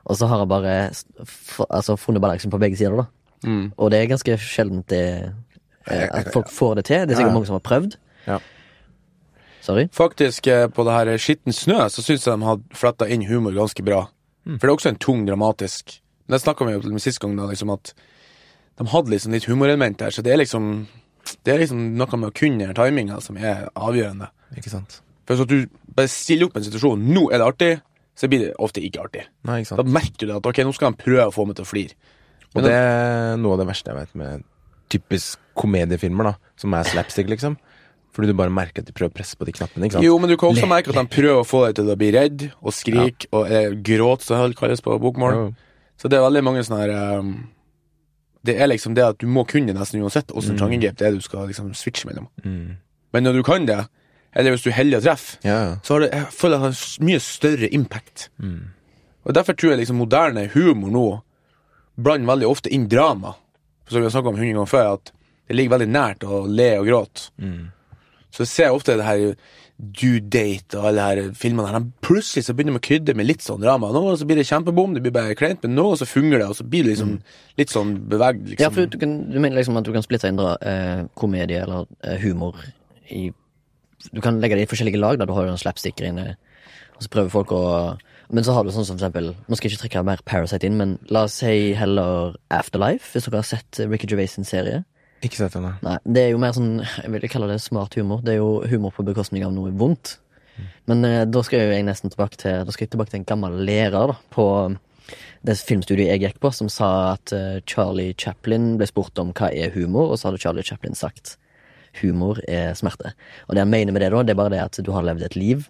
og så har han bare s- f- altså, funnet balansen på begge sider, da. Og det er ganske sjeldent det eh, at folk får det til. Det er sikkert mange som har prøvd. Ja. Sorry. Faktisk, eh, på det her Skitten snø, så syns jeg de hadde fletta inn humor ganske bra. For det er også en tung, dramatisk Men Det snakka vi jo om sist gang, da, liksom at de hadde liksom litt humorelement der, så det er liksom Det er liksom noe med å kunne timinga som er avgjørende. Ikke sant? For hvis at du bare stiller opp en situasjon, nå er det artig, så blir det ofte ikke artig. Nei, ikke Da sant? merker du det at ok, nå skal han prøve å få meg til å flire. Og det er noe av det verste jeg vet med typisk komediefilmer, da. Som er slapstick, liksom. Fordi du bare merker at de prøver å presse på de knappene. ikke sant? Jo, men du kan også Le- merke at han prøver å få deg til å bli redd, og skrik, og eh, gråt, som det kalles på bokmål. Jo. Så det er veldig mange sånne her ehm, Det er liksom det at du må kunne nesten uansett åssen sjangergrep det er du skal liksom switche mellom. Mm. Men når du kan det, eller hvis du er heldig å treffe, Ja, ja. så har det, jeg føler jeg har s- mye større impact. Og Derfor tror jeg liksom moderne humor nå blander veldig ofte inn drama. Som vi har snakket om hundre ganger før, at det ligger veldig nært å le og gråte. Så jeg ser ofte det her due date og alle her filmene her. de Plutselig så begynner de å krydre med litt sånn drama. Nå så blir det kjempebom, det blir bare kleint, men nå så fungerer det, og så blir det liksom litt sånn bevegd, liksom. Ja, for du, du, kan, du mener liksom at du kan splitte inn dra- eh, komedie eller eh, humor i Du kan legge det i forskjellige lag, da du har jo en slapsticker inne, og så prøver folk å Men så har du sånn som for eksempel Nå skal jeg ikke trekke mer Parasite inn, men la oss si heller Afterlife, hvis dere har sett Ricky Gervais sin serie. Ikke sett henne. Nei, det er jo mer sånn Jeg vil kalle det smart humor. Det er jo humor på bekostning av noe vondt. Men eh, da skal jeg nesten tilbake til Da skal jeg tilbake til en gammel lærer da, på um, det filmstudiet jeg gikk på, som sa at eh, Charlie Chaplin ble spurt om hva er humor, og så hadde Charlie Chaplin sagt humor er smerte. Og det han mener med det, da, det er bare det at du har levd et liv,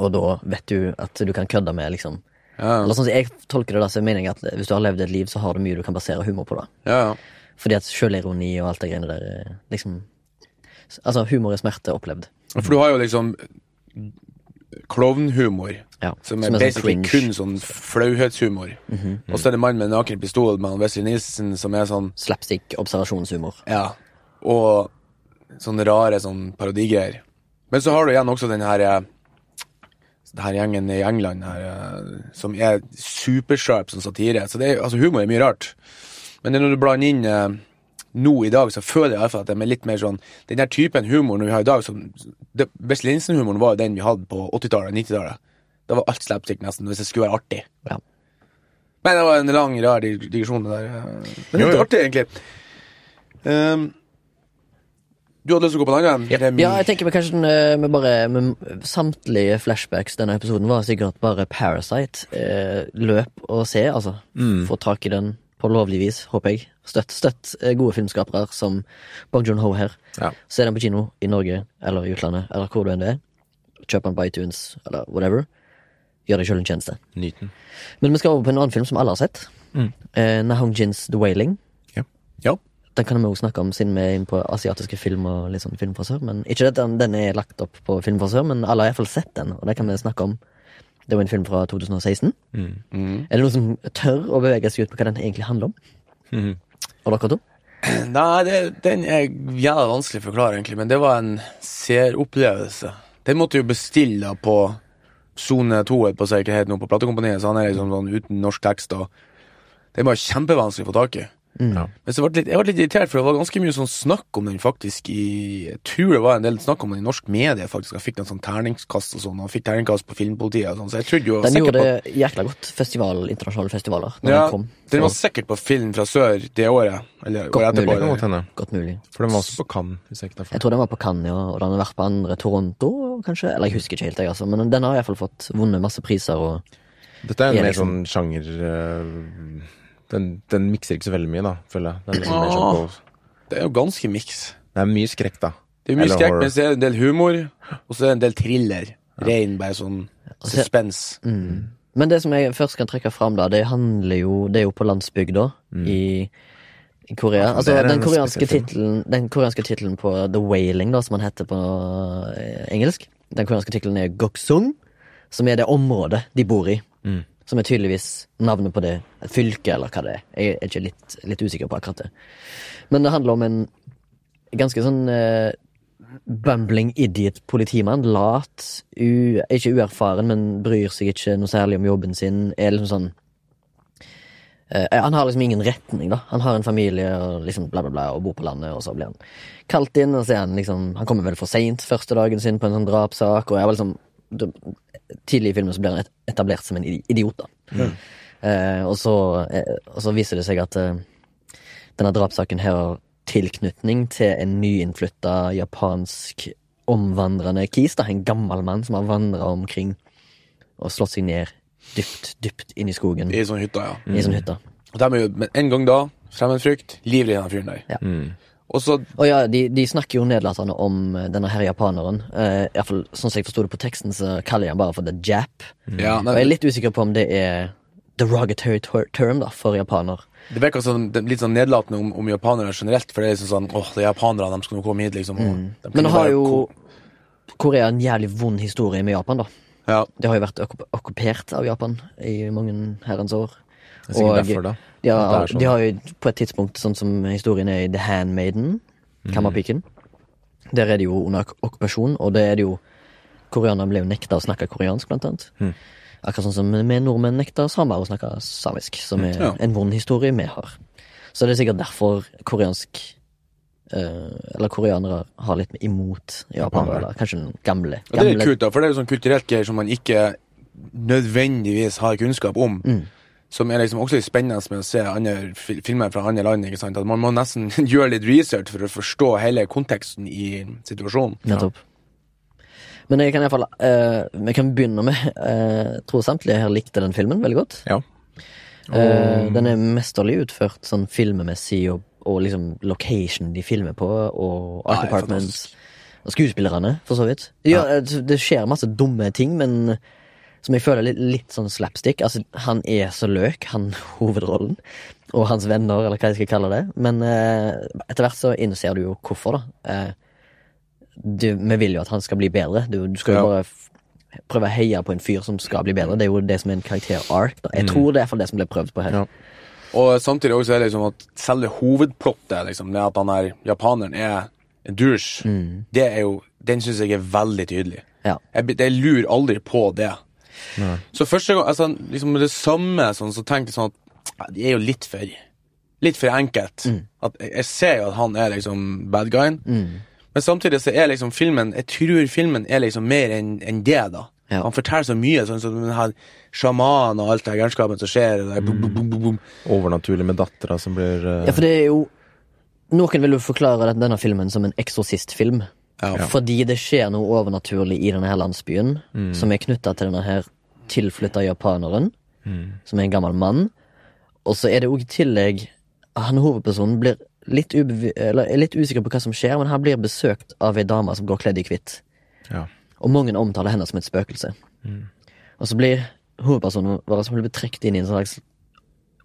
og da vet du at du kan kødde med, liksom. Ja. Eller sånn som jeg tolker det, da, så mener jeg at hvis du har levd et liv, så har du mye du kan basere humor på. da. Ja, ja. Fordi at selvironi og alt det greiene der eh, liksom Altså, humor er smerte opplevd. For du har jo liksom klovnhumor. Ja. Som er, sånn basically cringe. kun sånn flauhetshumor. Og så er det mannen med en naken pistol med han Wesley Nilsen som er sånn Slapstick observasjonshumor. Ja. Og sånne rare sånn parodigreier. Men så har du igjen også den her eh, det her gjengen i England her, eh, som er supersharp som satire. Så det er, altså, humor er mye rart. Men det er når du blander inn eh, nå i dag, så føler jeg i hvert fall at de er litt mer sånn Den der typen humor vi har i dag, som det- Wesley Linsen-humoren var jo den vi hadde på 80-tallet og 90-tallet. Da var alt slapstick, nesten, hvis det skulle være artig. Ja. Men det var en lang, rar dig- digresjon, det der. eh. Men det er Jo, jo. litt artig, egentlig. Ehm, du hadde lyst til å gå på en annen? Remi? Ja, jeg tenker vi kanskje den, eh, vi bare vi- Samtlige flashbacks denne episoden var sikkert bare Parasite. Eh, løp og se, altså. Mm. Få tak i den på lovlig vis, håper jeg. Støtt, støtt eh, gode filmskapere som Bong Joon-ho her. Ja. Se den på kino i Norge eller i utlandet, eller hvor du enn det er. Kjøp den på iTunes eller whatever. Gjør deg sjøl en tjeneste. Nyt den. Men vi skal over på en annen film som alle har sett. Eh, Nahong Jins The Wailing. Ja. Ja. Den kan vi også snakke om siden vi er inne på asiatiske film og litt sånn film fra sør. Men ikke at den, den er lagt opp på film fra sør, men alle har iallfall sett den, og det kan vi snakke om. Det var en film fra 2016. Mm. Er det noen som tør å bevege seg ut på hva den egentlig handler om? Og dere to? Nei, det, den er jævla vanskelig å forklare, egentlig, men det var en seeropplevelse. Den måtte jo bestille da på Sone 2, holdt på å si, hva heter det nå, på platekompaniet, så han er liksom sånn uten norsk tekst, og den var kjempevanskelig å få tak i. Ja. Men så ble jeg litt, jeg ble litt irritert, for det var ganske mye sånn snakk om den faktisk i Jeg tror det var en del snakk om den i norsk medie, faktisk. Han fikk en sånn terningkast og sånn, og han fikk terningkast på Filmpolitiet og sånn, så jeg trodde jo Den sikkert gjorde på- det jækla godt. Festival, internasjonale festivaler. Når ja, den kom. den var sikkert på film fra sør det året, eller Godt året etterpå. mulig. Det kan eller- godt hende. Godt mulig. For den var også på Cannes, hvis jeg ikke tar feil. Jeg tror den var på Cannes, ja, og den har vært på andre Toronto, kanskje? Eller jeg husker ikke helt, jeg, altså. Men den har iallfall fått vunnet masse priser og Dette er Ja, en mer liksom. sånn sjanger øh, den, den mikser ikke så veldig mye, da, føler jeg. Den er liksom mer sånn Åh. på- Det er jo ganske miks. det er mye skrekk, da. Det er mye Eller skrekk, horror. men så er det en del humor, og så er det en del thriller. Rein, bare sånn suspens. Mm. Men det som jeg først kan trekke fram, da, det handler jo Det er jo på landsbygda i, i Korea. Mm. det Altså, er den en koreanske spesiell film. tittelen Den koreanske tittelen på The Wailing, da, som han heter på eh, engelsk, den koreanske tittelen er Goksung, som er det området de bor i. Mm. Som er tydeligvis navnet på det fylket, eller hva det er. Jeg er ikke litt, litt usikker på akkurat det. Men det handler om en ganske sånn eh, bumbling idiot politimann. Lat, u, ikke uerfaren, men bryr seg ikke noe særlig om jobben sin. Er liksom sånn eh, Han har liksom ingen retning, da. Han har en familie og liksom bla, bla, bla, og bor på landet, og så blir han kalt inn, og så er han liksom Han kommer vel for seint første dagen sin på en sånn drapssak, og er vel liksom Tidlig i filmen så blir han et- etablert som en idi- idiot, da. Eh, og, så, eh, og så viser det seg at eh, denne drapssaken her har tilknytning til en nyinnflytta japansk omvandrende kis. Da. En gammel mann som har vandra omkring og slått seg ned dypt, dypt inn i skogen. I sånn hytta, ja. I sånn hytta. Og de er jo, men en gang da, fremmedfrykt, livredd han fyren der. Ja. Mm. Og så Og ja, de, de snakker jo nedlatende om eh, denne her japaneren. Eh, i hvert fall, sånn som jeg forsto det på teksten, så kaller de han bare for the jap. Mm. Ja, Og jeg er nei, litt usikker på om det er derogatory ter- term da, for japaner. det virker sånn, det er litt sånn nedlatende om, om japanere generelt, for det er liksom sånn Åh, det er japanere, de skal nå komme hit, liksom. og de kunne Mm. Men nå har bare jo ko- Korea en jævlig vond historie med Japan, da. Ja. Det har jo vært okkup- okkupert av Japan i mange herrens år. Det er sikkert derfor, da. De At har, det er sånn. de har jo på et tidspunkt, sånn som historien er i The Handmaiden, Mhm. Kammerpiken Der er det jo under ok- okkupasjon, og det er det jo Koreanere ble jo nekta å snakke koreansk, blant annet. Mhm. Akkurat sånn som vi nordmenn nekta samer å snakke samisk, som Mhm. er Ja. en vond historie vi har. Så det er sikkert derfor koreansk eh, Eller koreanere har litt imot japanere, Japanere. eller kanskje den gamle. Og det er litt gamle- kult, da, for det er jo sånn kulturelt greier som man ikke nødvendigvis har kunnskap om. Som er liksom også litt spennende med å se andre fil filmer fra andre land. ikke sant? At Man må nesten gjøre litt research for å forstå hele konteksten i situasjonen. Nettopp. Men jeg kan iallfall uh, Vi kan begynne med eh, Jeg tror samtlige her likte den filmen veldig godt. Ja. Eh, den er mesterlig utført sånn filmmessig, og, og liksom location de filmer på, og art Nei, departments. Og skuespillerne, for så vidt. Ja, eh, Det skjer masse dumme ting, men som jeg føler er litt, litt sånn slapstick. Altså, han er så løk, han hovedrollen. Og hans venner, eller hva jeg skal kalle det. Men eh, etter hvert så innser du jo hvorfor, da. Eh, du, vi vil jo at han skal bli bedre. Du, du skal jo Ja. bare f- prøve å heie på en fyr som skal bli bedre. Det er jo det som er en karakter-arc. da. Mm. Jeg tror det er i hvert fall det som ble prøvd på her. Ja. Og samtidig også er det liksom at selve hovedplottet, liksom, det at han her japaneren er en douche, det er jo, den syns jeg er veldig tydelig. Ja. Jeg, blir- jeg lurer aldri på det. Så første gang, altså, liksom det samme, sånn, så tenkte jeg sånn at ja, det er jo litt for Litt for enkelt. At jeg, jeg ser jo at han er liksom bad guyen, men samtidig så er liksom filmen Jeg tror filmen er liksom mer enn enn det, da. Ja. Han forteller så mye, sånn som den her sjamanen og alt det her gærenskapen som skjer. Og det, her bum, bum, bum, bum, bum. Overnaturlig med dattera som blir eh, Ja, for det er jo Noen vil jo forklare den- denne filmen som en eksorsistfilm. Ja. Fordi det skjer noe overnaturlig i denne her landsbyen, Mm. som er knytta til denne her tilflytta japaneren, Mm. som er en gammel mann. Og så er det òg i tillegg Han hovedpersonen blir litt, ubevi- eller, er litt usikker på hva som skjer, men han blir besøkt av ei dame som går kledd i hvitt. ja. Og mange omtaler henne som et spøkelse. Mm. Og så blir hovedpersonen vår som blir trukket inn i en slags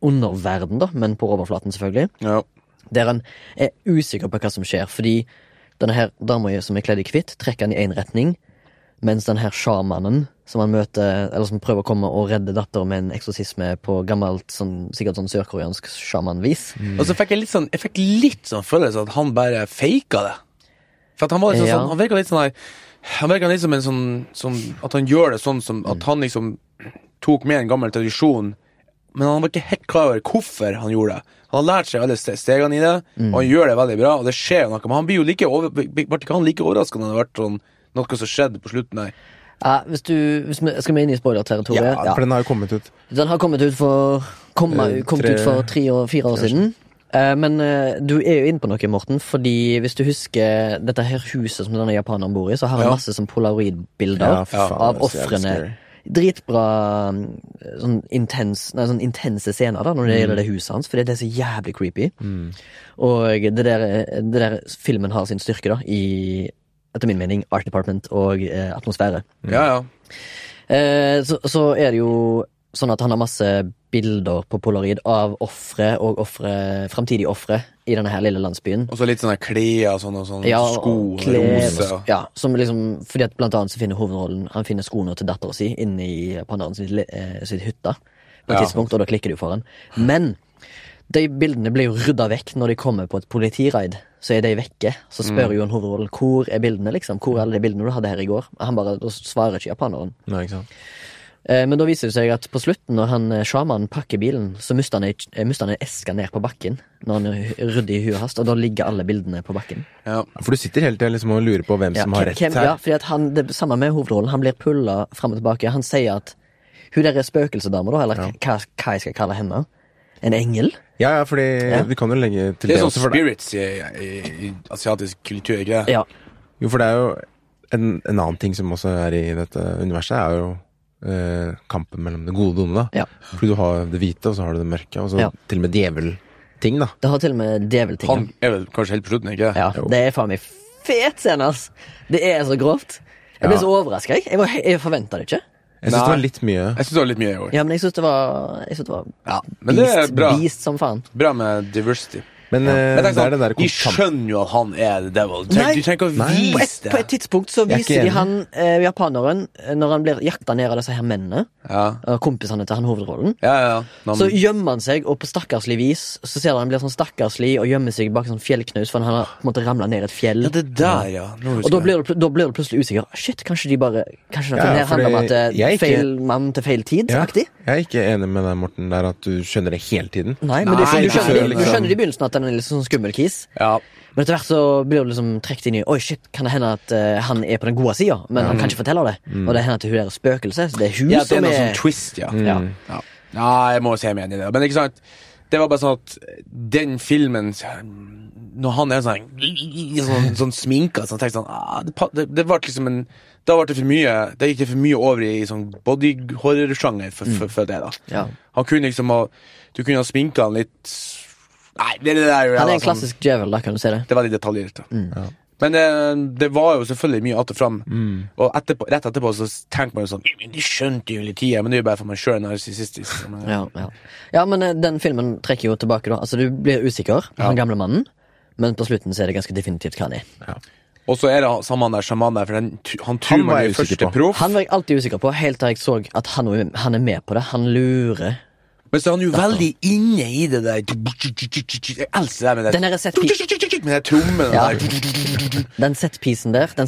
underverden, da, men på overflaten, selvfølgelig Ja. der han er usikker på hva som skjer, fordi denne her dama som er kledd i hvitt, trekker han i én retning, mens den her sjamanen som han møter, eller som prøver å komme og redde datteren med en eksorsisme på gammelt, sånn, sikkert sånn sørkoreansk sjamanvis Mm. Og så fikk jeg litt sånn Jeg fikk litt sånn følelse at han bare faka det. For at han var liksom Ja. sånn Han virka litt sånn her Han virka litt som en sånn, sånn At han gjør det sånn som Mm. At han liksom tok med en gammel tradisjon, men han var ikke helt klar over hvorfor han gjorde det. Han har lært seg alle ste- stegene i det, og Mm. han gjør det veldig bra, og det skjer jo noe, men han blir jo like over, ble ikke han like overraska når det ble sånn noe som skjedde på slutten der. Ja, hvis du, hvis vi, skal vi inn i spoilerterritoriet? ja, for den har jo kommet ut. Den har kommet ut for komma, Eh, kommet tre- ut for tre og fire år siden. Eh, men eh, du er jo inne på noe, Morten, fordi hvis du husker dette her huset som denne japaneren bor i, så har han Ja. masse sånn polaroidbilder Ja, for faen, av det er så jævlig ofrene. scary. Dritbra mm, sånn, intens, nei, sånn intense scener da når det gjelder det huset hans, fordi det er så jævlig creepy. Mm. Og det der, det der filmen har sin styrke, da, i etter min mening art department og eh, atmosfære. Ja, ja. Eh, så, så er det jo sånn at han har masse bilder på polaroid av ofre og offre, framtidige ofre i denne her lille landsbyen. Og så litt sånne klær og sånn, og sånn Ja, sko og og klær og- roser. og- Ja, som liksom, fordi at blant annet så finner hovedrollen Han finner skoene til dattera si inne i pandaren sitt, li- eh, sitt hytta. På et Ja. tidspunkt, og da klikker det jo for han. Men de bildene blir jo rydda vekk når de kommer på et politiraid. Så er de vekke. Så Mm. spør jo en hovedrollen hvor er bildene liksom? Hvor er alle de bildene du hadde her i går. Han bare, Da svarer ikke japaneren. Nei, ikke sant? Eh, Men da viser det seg at på slutten, når han eh, sjamanen pakker bilen, så mister han, ei- eh, mister han ei eske ned på bakken når han eh, rydder i huet hans, og da ligger alle bildene på bakken. Ja. Ja, For du sitter hele tida liksom og lurer på hvem Ja, som har rett hvem- her. Ja, fordi at han, det samme med hovedrollen, han blir pulla fram og tilbake. Han sier at hun der er spøkelsedama, da, eller hva, hva jeg skal kalle henne. En engel? Ja, ja, fordi vi kan jo legge Det til det, er sånn også, for det, spirits i, i, i asiatisk kultur, ikke det? Ja. jo, for det er jo en, en annen ting som også er i dette universet, er jo eh, kampen mellom det gode og det onde. da. Ja. Fordi du har det hvite, og så har du det mørke, og så Ja. til og med djevelting, da. Det har til og med djevelting. Han er vel kanskje helt på slutten, ikke det? Ja, det er faen meg fet scene, ass! Det er så grovt. Jeg ble Ja. så overraska, jeg. Jeg, var he- jeg forventa det ikke. Jeg syns det Nei. var litt mye. Jeg syns det var litt mye i år. Ja, men jeg syns det var, jeg synes det var Ja, men det er beast, bra. beast som faen. Bra med diversity. Men eh, Jeg det tenker sånn, er den der De konstant... skjønner jo at han er the devil. Du trenger, Nei. du trenger ikke å Nei. På vise et, på et det. tidspunkt så Jeg er ikke viser de enig. han eh, japaneren eh, når han blir jakta ned av disse her mennene, Ja, eh, kompisene til han hovedrollen. ja, ja. Nå, Så gjemmer han seg, og på stakkarslig vis så ser du han blir sånn stakkarslig og gjemmer seg bak en sånn fjellknaus, for han har på en måte ramla ned et fjell. ja, det der, ja. Nå husker og da jeg. blir, du, pl- da blir du plutselig usikker. Ah, Shit, kanskje de bare Kanskje dette Ja, her handler om fordi at eh, jeg er ikke- feil mann til feil Ja, tid-aktig? jeg er ikke enig med deg, Morten, der at du skjønner det hele tiden. Nei, men du, Nei, du, nei, skjønner, nei, du liksom. skjønner i begynnelsen at han er litt sånn skummel kis. ja. Men etter hvert så blir du liksom trukket inn i Oi, shit, kan det hende at eh, han er på den gode sida, men han kan ikke fortelle det. Og det hender at hun er et spøkelse. Så det er hun Mm. ja, det er som noe er Mm. sånn twist, ja. Ja. Ja. Nei, jeg må se meg igjen i det. Men ikke sant, det var bare sånn at den filmen Når han er sånn sånn, sånn sminka sånn, tenker jeg sånn, ah, det, pa- det, det ble liksom en Da ble det for mye Da gikk det for mye over i sånn body horror-sjanger for, for, for det, da. Ja. Han kunne liksom ha Du kunne ha sminka han litt Nei, det, det der Han er en sånn- klassisk djevel, da kan du se det. Det er veldig detaljert. da. Mm. Men det, det var jo selvfølgelig mye att og fram. Mm. Og etterpå, rett etterpå så tenkte man jo sånn "Men De skjønte jo hele tida, men det er jo bare for man sjøl er narsissistisk. så man- Ja, ja. ja men eh, den filmen trekker jo tilbake, da. Altså, du blir usikker på den gamle mannen, men på slutten så er det ganske definitivt hva han er. Og så er det han- samme han der sjamanen der, for den, han tror Han var man jeg er usikker første på. proff. Han var jeg alltid usikker på, helt til jeg så at han, han er med på det. Han lurer Men så er han jo veldig inne i det der Jeg elsker det med det Den derre set-piece. Med den trommen og Ja. det der. Den setpisen der, den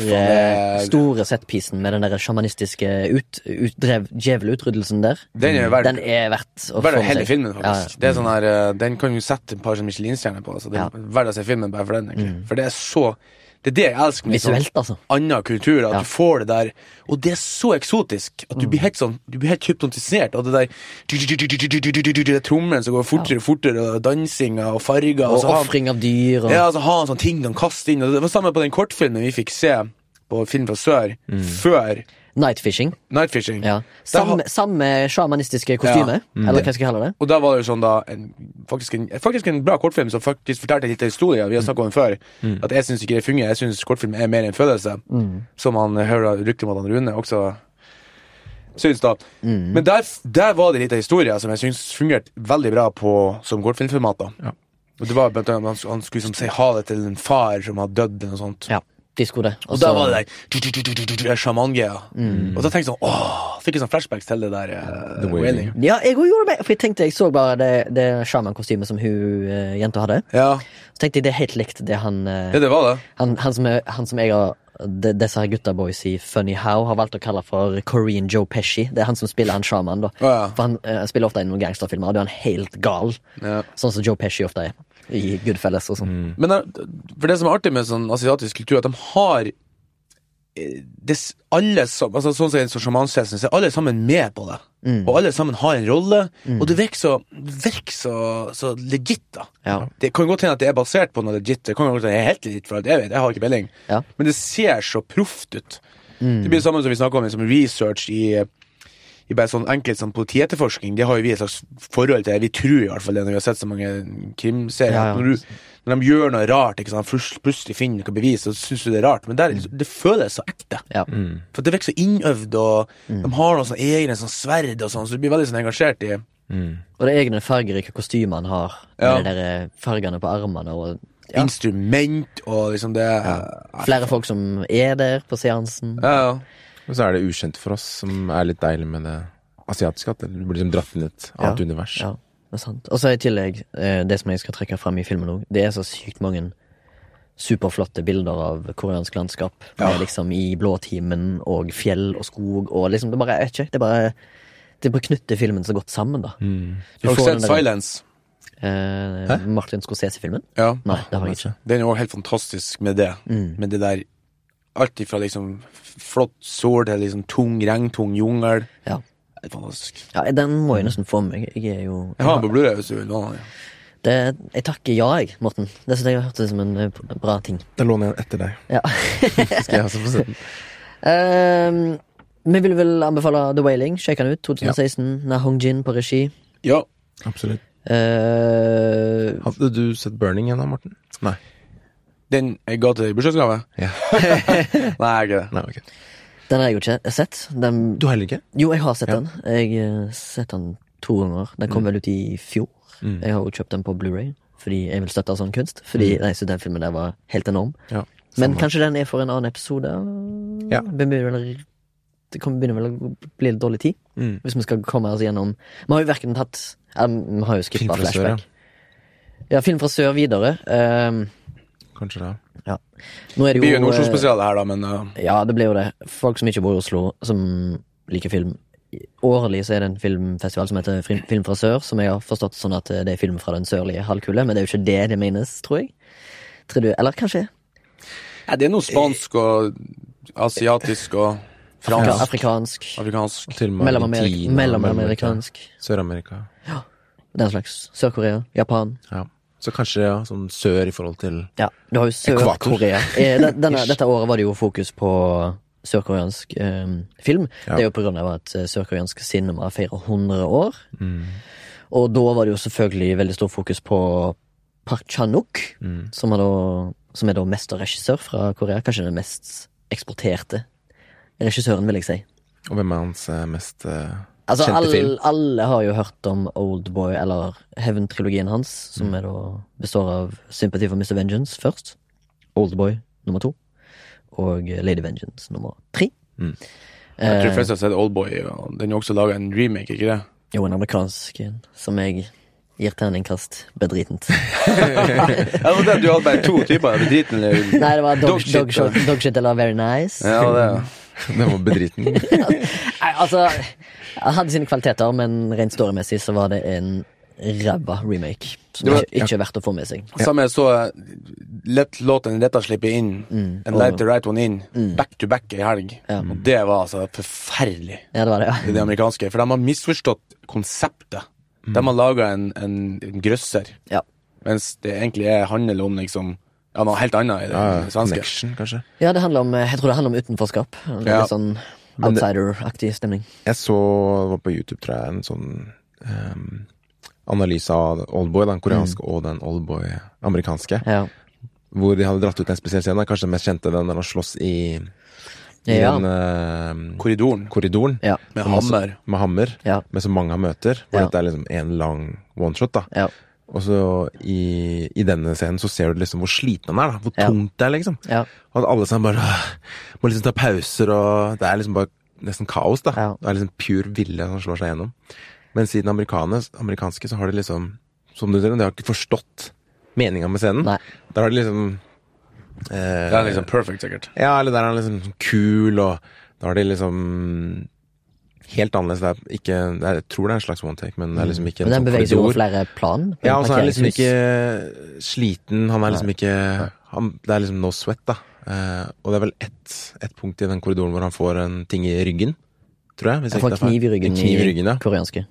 Ja, fy faen, det- store setpisen med den der sjamanistiske ut, ut, drev, djevelutryddelsen der, Den er jo verdt- den er verdt å Verdt få med hele seg. filmen, Ja, faktisk. Det er sånn her, eh, den kan jo sette et par sånn Michelin-stjerner på. Altså. Det er Ja. Mm. Verdt å se filmen bare for den. egentlig For det er så Det er det jeg elsker med sånn Visuelt, altså. annen kultur. At Ja. Mm. du får det der Og det er så eksotisk at du blir helt sånn Du blir helt hypnotisert av det der det er Trommelen som går fortere og fortere, og dansinga og farger. Og så har han- ofring av dyr og Ja, altså ha en sånn ting de kaster inn. Og det var samme på den kortfilmen vi fikk se på Film fra sør, før nightfishing. Nightfishing. Mm. Ja. Da har- Mm. Samme, samme sjamanistiske kostyme, eller hva skal jeg kalle det? Og da var det jo sånn da en, faktisk, en, faktisk en bra kortfilm som faktisk fortalte litt av historien vi har snakket om før. Mm. At jeg syns ikke det fungerer. Jeg syns kortfilm er mer en følelse. Som han hører rykter om at han Rune også syns, da. Men der, der var det litt av historien som jeg syns fungerte veldig bra på som kortfilmformat. da Ja. Og det var blant annet han, han skulle som si ha det til en far som har dødd, eller noe sånt. Ja, disko det. Og da var det der sjamangeia. Og da tenkte jeg sånn åh, Fikk jeg sånn flashbacks til det der eh, The Wailing. Wailing. Ja, jeg òg gjorde det, for jeg tenkte jeg så bare det, det sjamankostymet som hun eh, jenta hadde. Ja, Så tenkte jeg det er helt likt det han eh, ja, det var det. Han, han, som, er, han som jeg har de, Disse her gutta boys i Funny How har valgt å kalle for Korean Joe Pesci. Det er han som spiller han sjaman, da. Ja, ja. For han eh, spiller ofte i noen gangsterfilmer, og da er han helt gal. Ja. Sånn som Joe Pesci ofte er. I Goodfellas og sånn. Men eh, for det som er artig med sånn asiatisk kultur, at de har eh, det, s- alle som, altså Sånn som en sånn sjamansessen, så er alle sammen med på det. Mm. Og alle sammen har en rolle, og det virker så, det virker så, så legit, da. Ja. Det kan godt hende at det er basert på noe legit, det kan godt hende det er helt legit, for alt jeg vet, jeg har ikke peiling, Ja. Mm. men det ser så proft ut. Det blir det samme som vi snakker om liksom research i i bare sånn enkelt sånn politietterforskning, det har jo vi et slags forhold til. Vi tror i hvert fall det når vi har sett så mange krimserier. Ja, ja. at Når, du, når de gjør noe rart, ikke sant? først- plutselig finner noe bevis, så syns du det er rart. Men der, det føles så ekte. Ja. Mm. For det virker så innøvd, og de har noen sånne egne sånn sverd og sånn, så du blir veldig sånn engasjert i Og det er egne fargerike kostymer han har. Ja. Med de der eh, fargene på armene og ja, instrument og liksom det. Ja, flere folk som er der på seansen. ja. Og så er det ukjent for oss, som er litt deilig med det asiatiske. At du blir liksom dratt inn i et annet Ja. univers. Ja, det er sant. Og så i tillegg, eh, det som jeg skal trekke fram i filmen òg, det er så sykt mange superflotte bilder av koreansk landskap. Ja. Med liksom i blåtimen og fjell og skog og liksom Det bare jeg vet ikke. Det bare det bare knytter filmen så godt sammen, da. Du Har Mm. du får sett den der- Silence? Eh, Martin Scorsese-filmen? Ja. Nei, det har jeg ikke. Mm. Den er jo helt fantastisk med det. Med det der Alt ifra liksom flott sol til liksom tung regntung jungel. Ja. Det er Fantastisk. ja, Den må jeg nesten få med meg. Jeg er Mm. jo Jeg har den på Blu-ray hvis du vil låne den. det, Jeg takker ja, jeg, Morten. Det synes jeg hørtes ut som en eh, bra ting. Da låner jeg den etter deg. Ja Så skal jeg også få se den. Ehm, vi vil vel anbefale The Wailing. Sjekk den ut. 2016. Na Hong Jin på regi. Ja. Absolutt. Eh, Hadde du sett Burning igjen da, Morten? Nei. Den jeg ga til deg i bursdagsgave? Ja. Nei, ikke det. Nei, ok. den har jeg jo ikke sett. Den, Du har heller ikke? jo, jeg har sett den. Jeg har sett den to ganger. Den kom vel ut i fjor. Jeg har jo kjøpt den på Blu-ray fordi jeg vil støtte sånn kunst. Fordi jeg synes den filmen der var helt enorm. Ja. Men kanskje den er for en annen episode? Ja. Vi begynner vel, det kommer- begynner vel å bli litt dårlig tid. Mm. Hvis vi skal komme oss gjennom Vi har jo hverken tatt ja, Vi har jo skippa Film fra sør, ja. flashback. Ja, film fra sør videre. Ehm, Kanskje det. ja. Nå er Det det blir jo jo en eh, Oslo-spesial her, da, men uh, Ja, det blir jo det. Folk som ikke bor i Oslo, som liker film. Årlig så er det en filmfestival som heter Fri- Film fra sør, som jeg har forstått sånn at det er film fra den sørlige halvkule, men det er jo ikke det det menes, tror jeg. Tror du, eller kanskje? ja, Det er noe spansk og asiatisk og Afrika, fransk. afrikansk. Afrikansk. Og til og med Mellomameri- Argentina, Mellomamerikansk. Sør-Amerika. Den slags. Sør-Korea. Japan. Ja. Så kanskje ja, sånn sør i forhold til Ja, du har jo Ekvator. Sør-Korea. Eh, den- denne- Dette året var det jo fokus på sørkoreansk eh, film. Ja. Det er jo på grunn av at eh, sørkoreansk cinema feirer 100 år. Mm, Og da var det jo selvfølgelig veldig stor fokus på Park Chan-wook, mm. som, er da- som er da mesterregissør fra Korea. Kanskje den mest eksporterte regissøren, vil jeg si. Og hvem er hans eh, mest eh, Altså, kjente film? alle, alle har jo hørt om Oldboy, eller Hevn-trilogien hans, som er da, består av Sympathy for Mr. Vengeance først, Oldboy nummer to, og Lady Vengeance nummer tre. Eh. Jeg tror de fleste har sett Oldboy. Og den er også laga en remake, ikke det? Jo, en amerikansk en som jeg gir terningkast bedritent. Jeg trodde at du hadde bare to typer. er du Driten eller Nei, det var dog, Dogshit, dog, dog, Dogshit eller Very Nice. Ja, det er Den var bedriten. Nei, altså Han hadde sine kvaliteter, men rent storymessig så var det en ræva remake. Som Det var- ikke, ikke er verdt å få med seg. Samme jeg så eh, Let låten Retta slippe inn, Mm. and let the right one in, back to back i helg. Og det var altså forferdelig. Ja, det var det, ja. i det amerikanske. For de har misforstått konseptet. Mm. De har laga en, en, en grøsser, Ja, mens det egentlig er, handler om liksom ja, noe helt annet i det Ja, svenske. connection, kanskje. ja det handler om eh, Jeg tror det handler om utenforskap. Det er Ja. Litt sånn Men det- outsider-aktig stemning. Jeg så det var på YouTube, tror jeg, en sånn ehm, analyse av Oldboy, den koreanske Mm. og den Oldboy amerikanske. Ja. Hvor de hadde dratt ut en spesiell scene, kanskje den mest kjente, den der han slåss i, i Ja. den ehm, Korridoren korridoren. Ja. med Som også- hammer. Med hammer, Ja. med så mange han møter. Hvor Ja. dette er liksom en lang one-shot, da. Ja. Og så i, i denne scenen så ser du liksom hvor sliten han er, da. Hvor Ja. tungt det er, liksom. Ja. Og at alle sammen bare «Åh», må liksom ta pauser, og det er liksom bare nesten kaos, da. Ja. Det er liksom pur ville som slår seg gjennom. Mens i den amerikane- amerikanske så har de liksom, som du sier, de har ikke forstått meninga med scenen. Nei. Der har de liksom eh, Det er liksom perfect, sikkert. ja, eller der er han liksom kul, og da har de liksom Helt annerledes. Det er ikke Jeg tror det er en slags one take, men det er liksom ikke Mm. en Men den sånn beveger seg over korridor. flere plan. Ja, og så er han liksom Parkeringshus. ikke sliten. Han er liksom ikke han, Det er liksom no sweat, da. Eh, og det er vel ett et punkt i den korridoren hvor han får en ting i ryggen, tror jeg. Hvis Jeg ikke får det en er feil. kniv i ryggen, En kniv i ryggen ja. koreanske.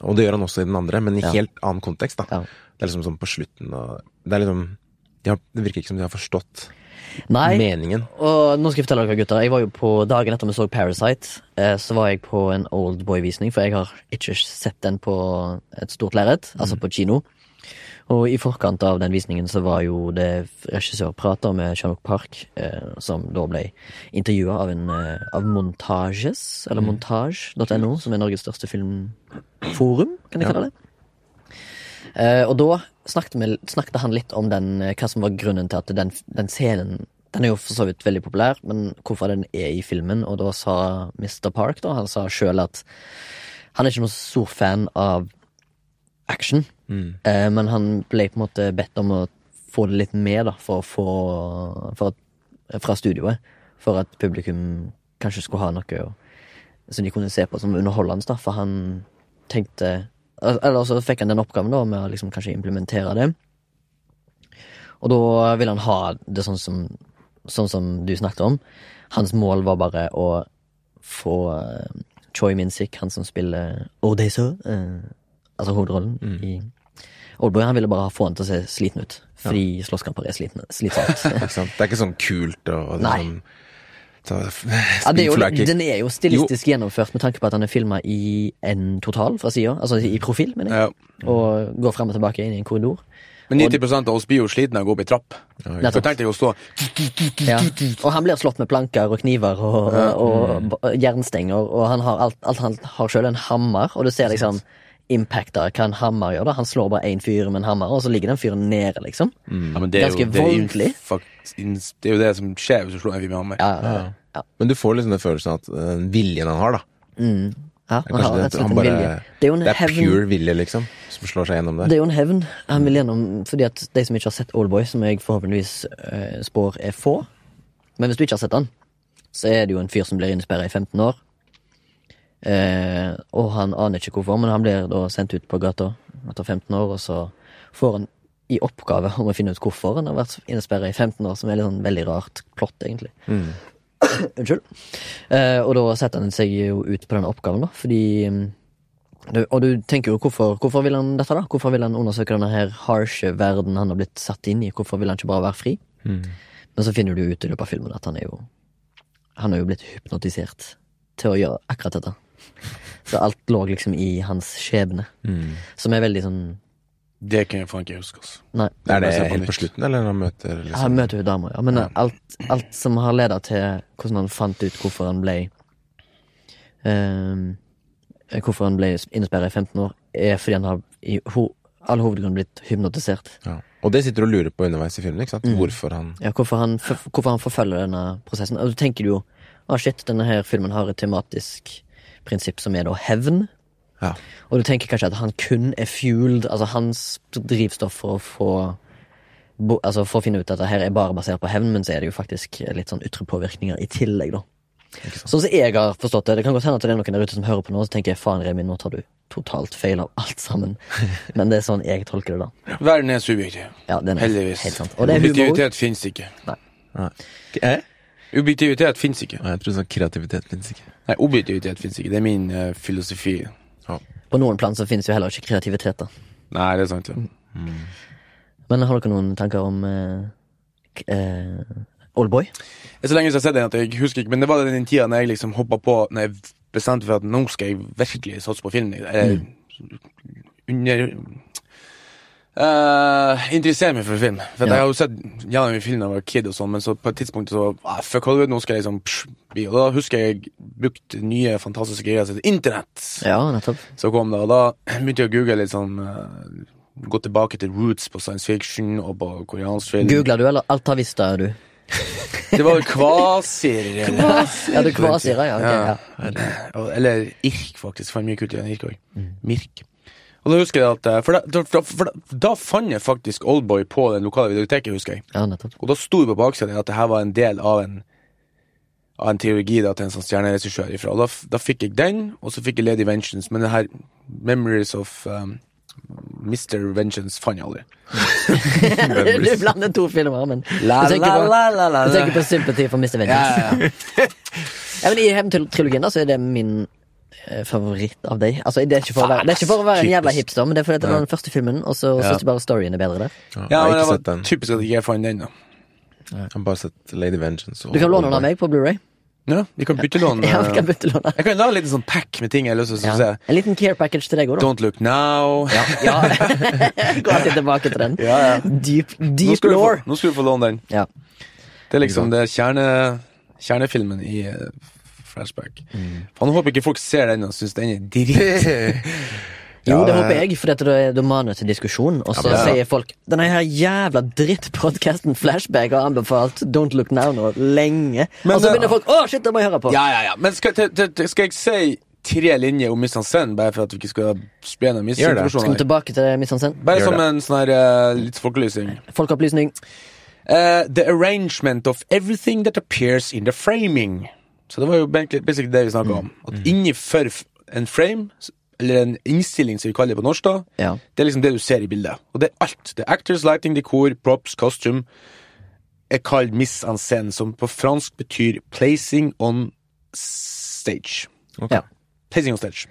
Og det gjør han også i den andre, men i Ja. helt annen kontekst, da. Ja. Det er liksom sånn på slutten og Det er liksom de har, Det virker ikke som de har forstått Nei, meningen. og nå skal jeg fortelle dere gutter Jeg var jo på Dagen etter vi så Parasite, eh, så var jeg på en Oldboy-visning, for jeg har ikke sett den på et stort lerret, altså på kino. Og i forkant av den visningen så var jo det regissørprater med Chanuk Park, eh, som da ble intervjua av, en, eh, av Montages, eller montage.no, som er Norges største filmforum, kan jeg kalle det. Eh, og da snakket, vi, snakket han litt om den, eh, hva som var grunnen til at den, den scenen Den er jo for så vidt veldig populær, men hvorfor den er i filmen. Og da sa Mr. Park, da, han sa sjøl at han er ikke noen stor fan av action. Eh, men han ble på en måte bedt om å få det litt med, da, for å få for at, Fra studioet. For at publikum kanskje skulle ha noe å som de kunne se på som underholdende, da, for han tenkte al- Eller så fikk han den oppgaven da med å liksom kanskje implementere det. Og da ville han ha det sånn som, sånn som du snakket om. Hans mål var bare å få eh, Choi Min-sik, han som spiller Odeso, eh, altså hovedrollen i Oldboy, han ville bare få han til å se sliten ut. Fordi slåsskamper er slitne- slitsomt. Ikke sant? Det er ikke sånn kult og liksom, Nei. ta, Ja, det er jo, springflaker. den er jo stilistisk gjennomført med tanke på at han er filma i en total fra sida, altså i profil, mener jeg, Ja. og går frem og tilbake inn i en korridor. Men 90 av oss blir jo slitne av å gå opp i trapp. Nettopp. Så tenkte jeg å stå Ja. Og han blir slått med planker og kniver og, Mm. og, b- jernstenger, og han har alt, alt han har sjøl, en hammer, og du ser liksom impacta hva en hammer gjør. da Han slår bare én fyr med en hammer, og så ligger den fyren nede, liksom. Mm. ja, men det er Ganske jo, det er jo voldelig. fakt- ins- Det er jo det som skjer hvis du slår en fyr med hammer. Ja, ja, ja. Men du får liksom den følelsen at øh, den viljen han har, da. ja Det er han har kanskje rett og det, slett han en bare, vilje. Det er jo en hevn pure vilje, liksom, som slår seg gjennom Det der. er jo en hevn. Han vil gjennom, fordi at De som ikke har sett Oldboy, som jeg forhåpentligvis eh, spår er få Men hvis du ikke har sett han, så er det jo en fyr som blir innesperra i 15 år. Eh, og han aner ikke hvorfor, men han blir da sendt ut på gata etter 15 år, og så får han i oppgave om å finne ut hvorfor han har vært innesperra i 15 år, som er litt sånn veldig rart plott, egentlig. Unnskyld. Eh, og da setter han seg jo ut på den oppgaven, da, fordi mm, du, og du tenker jo hvorfor, hvorfor vil han dette, da? Hvorfor vil han undersøke denne her harshe verden han har blitt satt inn i? Hvorfor vil han ikke bare være fri? Men så finner du jo ut i løpet av filmen at han er jo Han er jo blitt hypnotisert til å gjøre akkurat dette. Så alt lå liksom i hans skjebne. Mm. Som er veldig sånn Det kan jeg faen ikke huske. Altså. Nei. Er det Jeg ser på helt nytt. på slutten, eller når han møter liksom Han møter jo dama, ja. Men alt, alt som har leda til hvordan han fant ut hvorfor han ble ehm, Hvorfor han ble innesperra i 15 år, er fordi han har i ho all hovedgrunn blitt hypnotisert. ja. Og det sitter du og lurer på underveis i filmen, ikke sant? Hvorfor han Ja, hvorfor, han, f- hvorfor han forfølger denne prosessen. Og du tenker du jo ah, shit, denne her filmen har et tematisk prinsipp som er da hevn. Ja. Og du tenker kanskje at han kun er fueled, altså hans drivstoff for å få bo, Altså for å finne ut at det her er bare basert på hevn, men så er det jo faktisk litt sånn ytre påvirkninger i tillegg, da. Sånn som jeg har forstått det. Det kan godt hende at det er noen der ute som hører på nå og tenker faen, Remi, nå tar du totalt feil av alt sammen. Men det er sånn jeg tolker det, da. Verden er subjektiv. Ja, det er Heldigvis. Helt sant. Og det er humor. Objektivitet fins ikke. Nei. Eh? Objektivitet fins ikke. Jeg tror sånn kreativitet finnes ikke. Nei, objektivitet fins ikke. Det er min eh, filosofi. På noen plan så finnes jo heller ikke kreativitet, da. Nei, det er sant. Ja. Men har dere noen tanker om eh, k- eh, Oldboy? Det er så lenge siden jeg har sett den at jeg husker ikke, men det var den tida når jeg liksom hoppa på Når jeg bestemte for at nå skal jeg virkelig satse på film. Eller under Eh, Interessere meg for film. For at Ja. Jeg har jo sett gjennom mye film da jeg var kid, og sånn men så på et tidspunkt så ah, Fuck Hollywood, nå skal jeg liksom psh, bli Og da husker jeg brukte nye, fantastiske greier som heter Internett. Ja, nettopp. Så kom det, og da begynte jeg å google litt sånn eh, Gå tilbake til roots på science fiction og på koreansk film. Googler du, eller altavista er du? Det var jo kvasir. Ja, du kvasier, ja. ok, ja. Og- Eller irk, faktisk. Fant mye kult i den irk òg. Mm. Mirk. Og da husker jeg at eh, For da, da, da, for da, da fant jeg faktisk Oldboy på den lokale videoteket, husker jeg. Ja, nettopp. Og da sto det på baksiden at det her var en del av en Av en teologi da, til en sånn stjerneregissør ifra. Og da, f- da fikk jeg den, og så fikk jeg Lady Vengeance. Men det her Memories of um, Mr. Vengeance fant jeg aldri. du blander to filmer, men du tenker på, Du tenker på Sympathy for Mr. Vengeance. Ja, ja, ja. Ja, men I Hevn-trilogien da, så er det min eh, favoritt av deg. Altså, det, er ikke for å være, det er ikke for å være en jævla hipster, men det er fordi det var den første filmen, og så Ja. synes jeg bare storyen er bedre der. Ja, ja, jeg har men det ikke sett var den. typisk at jeg ikke fant den, da. Jeg har bare sett Lady Vengeance. og- Du kan låne den av meg på Blu-ray. Ja, vi kan bytte lån. Ja, eh, vi kan bytte lån av. Jeg kan lage en liten sånn pack med ting jeg har lyst til å Ja. se. En liten care package til deg òg, da. Don't look now. Ja. Gå alltid tilbake til den. Ja, ja. Deep, Nå, deep skal du få, lore. nå skal du få låne den. Ja. Det er liksom det er kjerne, kjernefilmen i eh, Flashback. Mm. Faen, jeg håper ikke folk ser den og syns den er dritt. Jo, Ja, det det- håper jeg, for dette, da- da maner det til diskusjon. Og så men ja. sier folk denne her jævla drittpodkasten Flashback har anbefalt Don't Look Now nå lenge. Men og så det- begynner folk å shit, det må jeg høre på. ja, ja, ja. Men skal, til- til- til- skal jeg si tre linjer om Miss Hansen, bare for at vi ikke skal spre noen Gjør det. Skal vi misinformasjon? her? tilbake til Misansen? Bare Gjør som det. en sånn her eh, litt folkelysning. Folkeopplysning. Eh, the arrangement of everything that appears in the framing. Så det var jo egentlig- basically det vi snakka om. Mm. At innenfor f- en frame, s- eller en innstilling som vi kaller det på norsk, da, Ja. det er liksom det du ser i bildet. Og det er alt. Det er actors, lighting, decor, props, costume er kalt mise en scène, som på fransk betyr placing on stage. Ok. Ja. Placing on stage.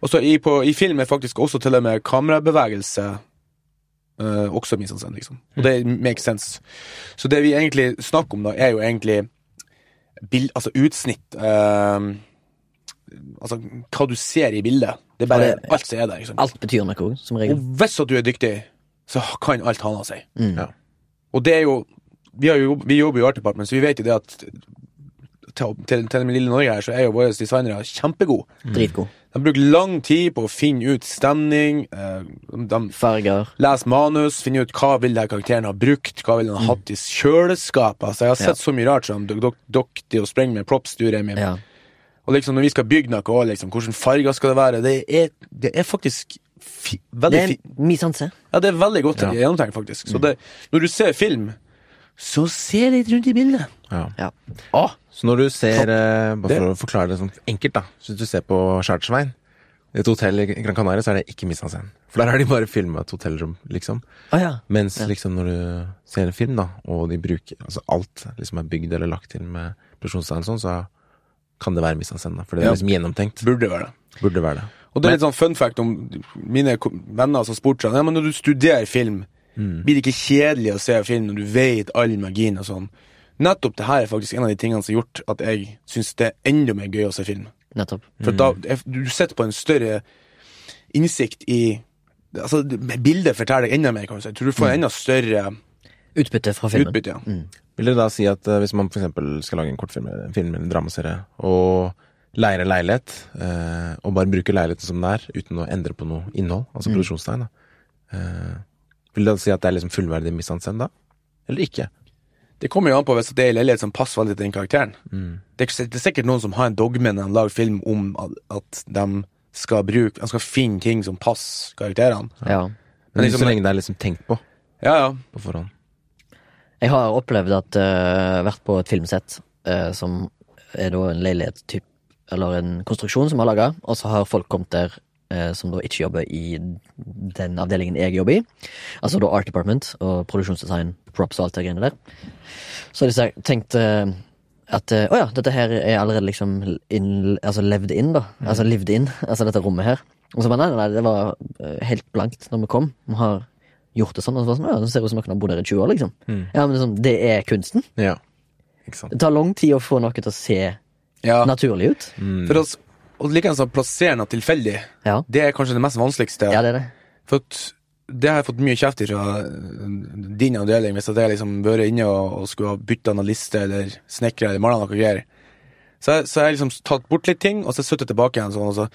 Og så i, på- i film er faktisk også til og med kamerabevegelse eh, også mise en scène, liksom. Og det makes sense. Så det vi egentlig snakker om da, er jo egentlig bild, altså utsnitt eh, Altså hva du ser i bildet. Det er bare Ja, det- alt som er der. liksom. Alt betyr noe, også, som Og regel. hvis at du er dyktig, så kan alt handle seg. Mm. Ja. Og det er jo Vi, har jo, vi jobber jo i Art Department, så vi vet jo det at til, til, til den lille Norge her, så er jo våre designere kjempegode. Dritgod. De bruker lang tid på å finne ut stemning. eh, de Farger. leser manus, finner ut hva vil denne karakteren ha brukt, hva vil han Mm. ha hatt i kjøleskapet. Altså, jeg har sett så mye rart som dok- dok- dokk til å sprenge med props, du, Remi. Ja. Og liksom når vi skal bygge noe, og liksom, hvilke farger skal det være? Det er, det er faktisk fi, Det veldig er fint. misanse. Ja, det er veldig godt Ja. gjennomtenkt, faktisk. Så det, når du ser film, så se litt rundt i bildet. Ja. Ja. Så når du ser eh, Bare Det- for å forklare det sånn enkelt, da. Så hvis du ser på Chartersveien, et hotell i Gran Canaria, så er det ikke mistansen. For der har de bare filma et hotellrom, liksom. Å ja. Mens liksom når du ser en film, da, og de bruker altså alt liksom er bygd eller lagt til med produksjonsdesign og sånn, så kan det være mistansen, da. For det Ja. er liksom gjennomtenkt. Burde være det. Burde være det. Og det er litt sånn fun fact om mine ko- venner som spurte seg, ja, men når du studerer film, blir det ikke kjedelig å se film når du vet all magien og sånn? Nettopp det her er faktisk en av de tingene som har gjort at jeg syns det er enda mer gøy å se film. Nettopp. For da, jeg- du sitter på en større innsikt i Altså, bildet forteller deg enda mer, kan du si. Jeg tror du får enda større Utbytte fra filmen. utbytte. ja. Vil dere da si at eh, hvis man f.eks. skal lage en kortfilm en film eller en dramaserie, og leier en leilighet, eh, og bare bruker leiligheten som den er, uten å endre på noe innhold, altså produksjonstegn, da, eh, vil dere si at det er liksom fullverdig misansen da? Eller ikke? Det kommer jo an på hvis det er en leilighet som passer veldig til den karakteren. Det, er, det er sikkert noen som har en dogme når de lager film om at- at de skal bruke Han skal finne ting som passer karakterene. Ja. Men liksom- så lenge det er liksom tenkt på Ja, ja. på forhånd. Jeg har opplevd at eh, vært på et filmsett eh, som er da en leilighet typ, eller en konstruksjon som er laga, og så har folk kommet der eh, som da ikke jobber i den avdelingen jeg jobber i. Altså da Art Department og produksjonsdesign, props og alt det greiene der. Så har de sagt- tenkt eh, at eh, å ja, dette her er allerede liksom inn, altså levd inn, da. Mm. Altså livd inn, altså dette rommet her. Og så bare nei, nei, nei, det var eh, helt blankt når vi kom. Vi har gjort det sånn. Og så var det sånn, «Å ja, det ser ut som noen har bodd her i 20 år, liksom. Mm. Ja, men det er sånn, det er kunsten. Ja. Ikke sant. Det tar lang tid å få noe til å se ja. naturlig ut. Mm. For oss, og likeens å plassere noe tilfeldig, Ja. det er kanskje det mest vanskeligste. ja, det er det. For at det har jeg fått mye kjeft fra øh, din avdeling, hvis at jeg liksom vært inne og, og skulle ha bytta noen liste eller snekra eller mala noe greier. Så jeg, så jeg har liksom tatt bort litt ting, og så sittet tilbake igjen sånn, og så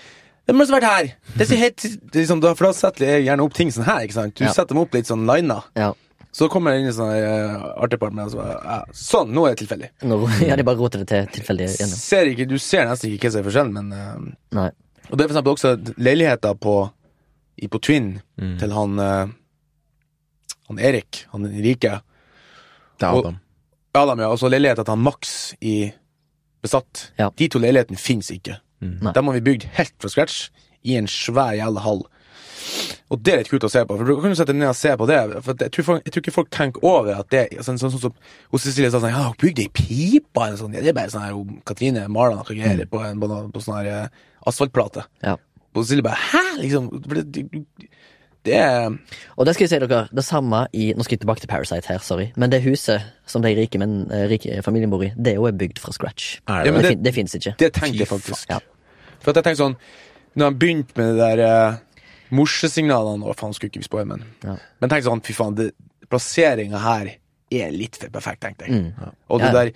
det må ha vært her! Det ser helt, det er liksom, da- for da setter jeg gjerne opp ting sånn her. ikke sant? Du Ja. setter dem opp litt sånn lina. Ja. Så kommer jeg inn i sånn uh, art department og så bare ja, Sånn, nå er det tilfeldig. Når, Mm. ja, de bare roter det til tilfeldig igjen. Ser ikke, du ser nesten ikke hva som er forskjellen, men øh, Nei. og det er for eksempel også leiligheter på, i, på Twin Mm. til han, eh, han Erik, han rike. Det er Og- Adam. Ja, da, men ja, og så leiligheter til han Max i Besatt. Ja. Mm. De to leilighetene fins ikke. Nei. Dem har vi bygd helt fra scratch i en svær jævla hall. Og det er litt kult å se på, for du kan jo sette deg ned og se på det. For at jeg, tror folk, jeg tror ikke folk tenker over at det altså, Sånn sånn som hos Cecilie sa sånn Ja, hun bygde ei pipe! Eller sånn. Ja, det er bare sånn her hun Katrine maler noe greier på, en- på, noe- på sånn her eh, asfaltplate. Mm. Ja. Og Cecilie bare Hæ?! Liksom. For det, det, det er Og det skal jeg si dere, det samme i Nå skal jeg tilbake til Parasite her, sorry. Men det huset som de rike, men, eh, rike familien bor i, det òg er bygd fra scratch. Er det Ja, men det det- fin- det fins ikke. Det tenkte Fy jeg faktisk. faen, For at jeg tenkte sånn Når han begynte med det der eh, morsesignalene Å, faen, skulle ikke vi spoile, men Ja. Men tenkte sånn, fy faen, det- plasseringen her er litt for perfekt, tenkte jeg. Og det Mm. Ja. der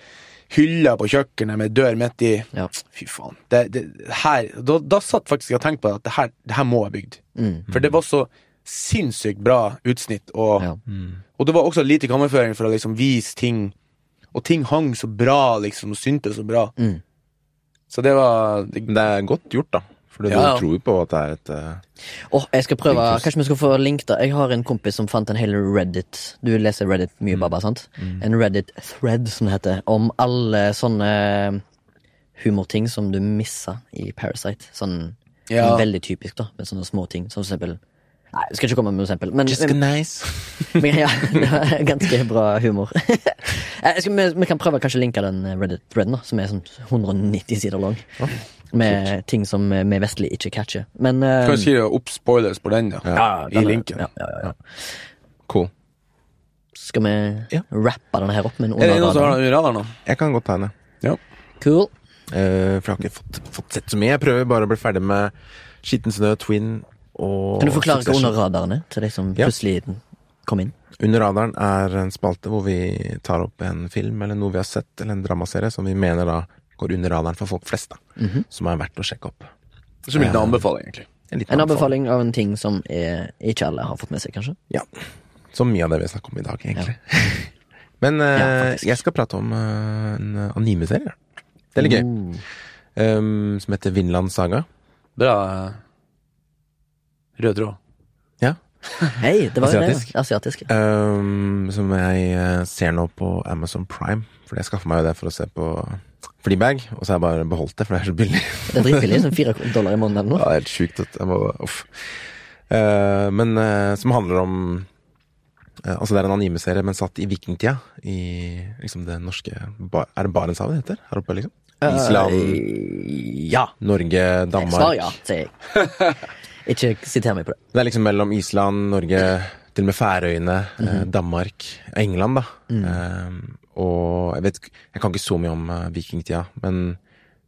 hylla på kjøkkenet med dør midt i Ja. Fy faen. Det, det, her, da, da satt faktisk jeg og tenkte på at det her, det her må jeg bygd. Mm. For det var så sinnssykt bra utsnitt, og, Ja. og det var også lite kammerføring for å liksom vise ting. Og ting hang så bra, liksom, og syntes så bra. Mm. Så det var det, Men det er godt gjort, da. For Ja, ja. du tror jo på at det er et eh, Åh, jeg skal prøve Linktus. Kanskje vi skal få link da Jeg har en kompis som fant en hel Reddit Du leser Reddit mye, Baba, sant? En Reddit-thread, som det heter Om alle sånne eh, humorting som du misser i Parasite Sånn Ja. veldig typisk da Med sånne små ting Som for eksempel Nei, jeg skal ikke komme med noe eksempel Men, men, nice. men ja, det var ganske bra humor jeg skal, vi, vi kan prøve å kanskje linke den Reddit-threaden da Som er sånn 190 sider lang Med ting som eh, vi vestlig ikke catcher Men eh, Kan jeg skrive opp spoilers på den, da? ja, I den er- linken. ja, ja, ja, ja. Cool. Skal vi Ja. rappe denne her opp med en Er det noen som underradar? har den under radaren, da? Jeg kan godt tegne. Ja. Cool. Eh, for jeg har ikke fått, fått sett så mye. Jeg prøver bare å bli ferdig med Skitten snø, Twin og Kan du forklare hva Succession. under radarene til de som Ja. plutselig kom inn? Under radaren er en spalte hvor vi tar opp en film eller noe vi har sett, eller en dramaserie som vi mener da går under radaren for folk flest, da. Mhm. Som er verdt å sjekke opp. Det er så mye en anbefaling, egentlig. liten En anbefaling av en ting som er, ikke alle har fått med seg, kanskje? Ja. Så mye av det vi snakker om i dag, egentlig. Men eh, Ja, faktisk. jeg skal prate om eh, en anime-serie. Det er litt gøy. Mm. Oh. Um, som heter Vinland Saga. Bra eh, rød tråd. Ja. Hei, det var jo det. Asiatisk. ja. Asiatisk. ja. Um, som jeg eh, ser nå på Amazon Prime. Fordi jeg skaffer meg jo det for å se på Fleabag, og så har jeg bare beholdt det, for det er så billig. Det er dritbillig. Sånn fire dollar i måneden eller Ja, det noe. er helt sjukt at jeg må Uff. Eh, men eh, som handler om eh, Altså, det er en anime-serie, men satt i vikingtida. I liksom det norske ba Er det Barentshavet det heter? Her oppe, liksom? Island, Eh, Ja. Norge, Danmark. Svar ja, sier jeg. Ikke siter meg på det. Det er liksom mellom Island, Norge, til og med Færøyene, eh, Mhm. Danmark, England, da. Mm. Eh, og jeg vet ikke- Jeg kan ikke så mye om eh, vikingtida, men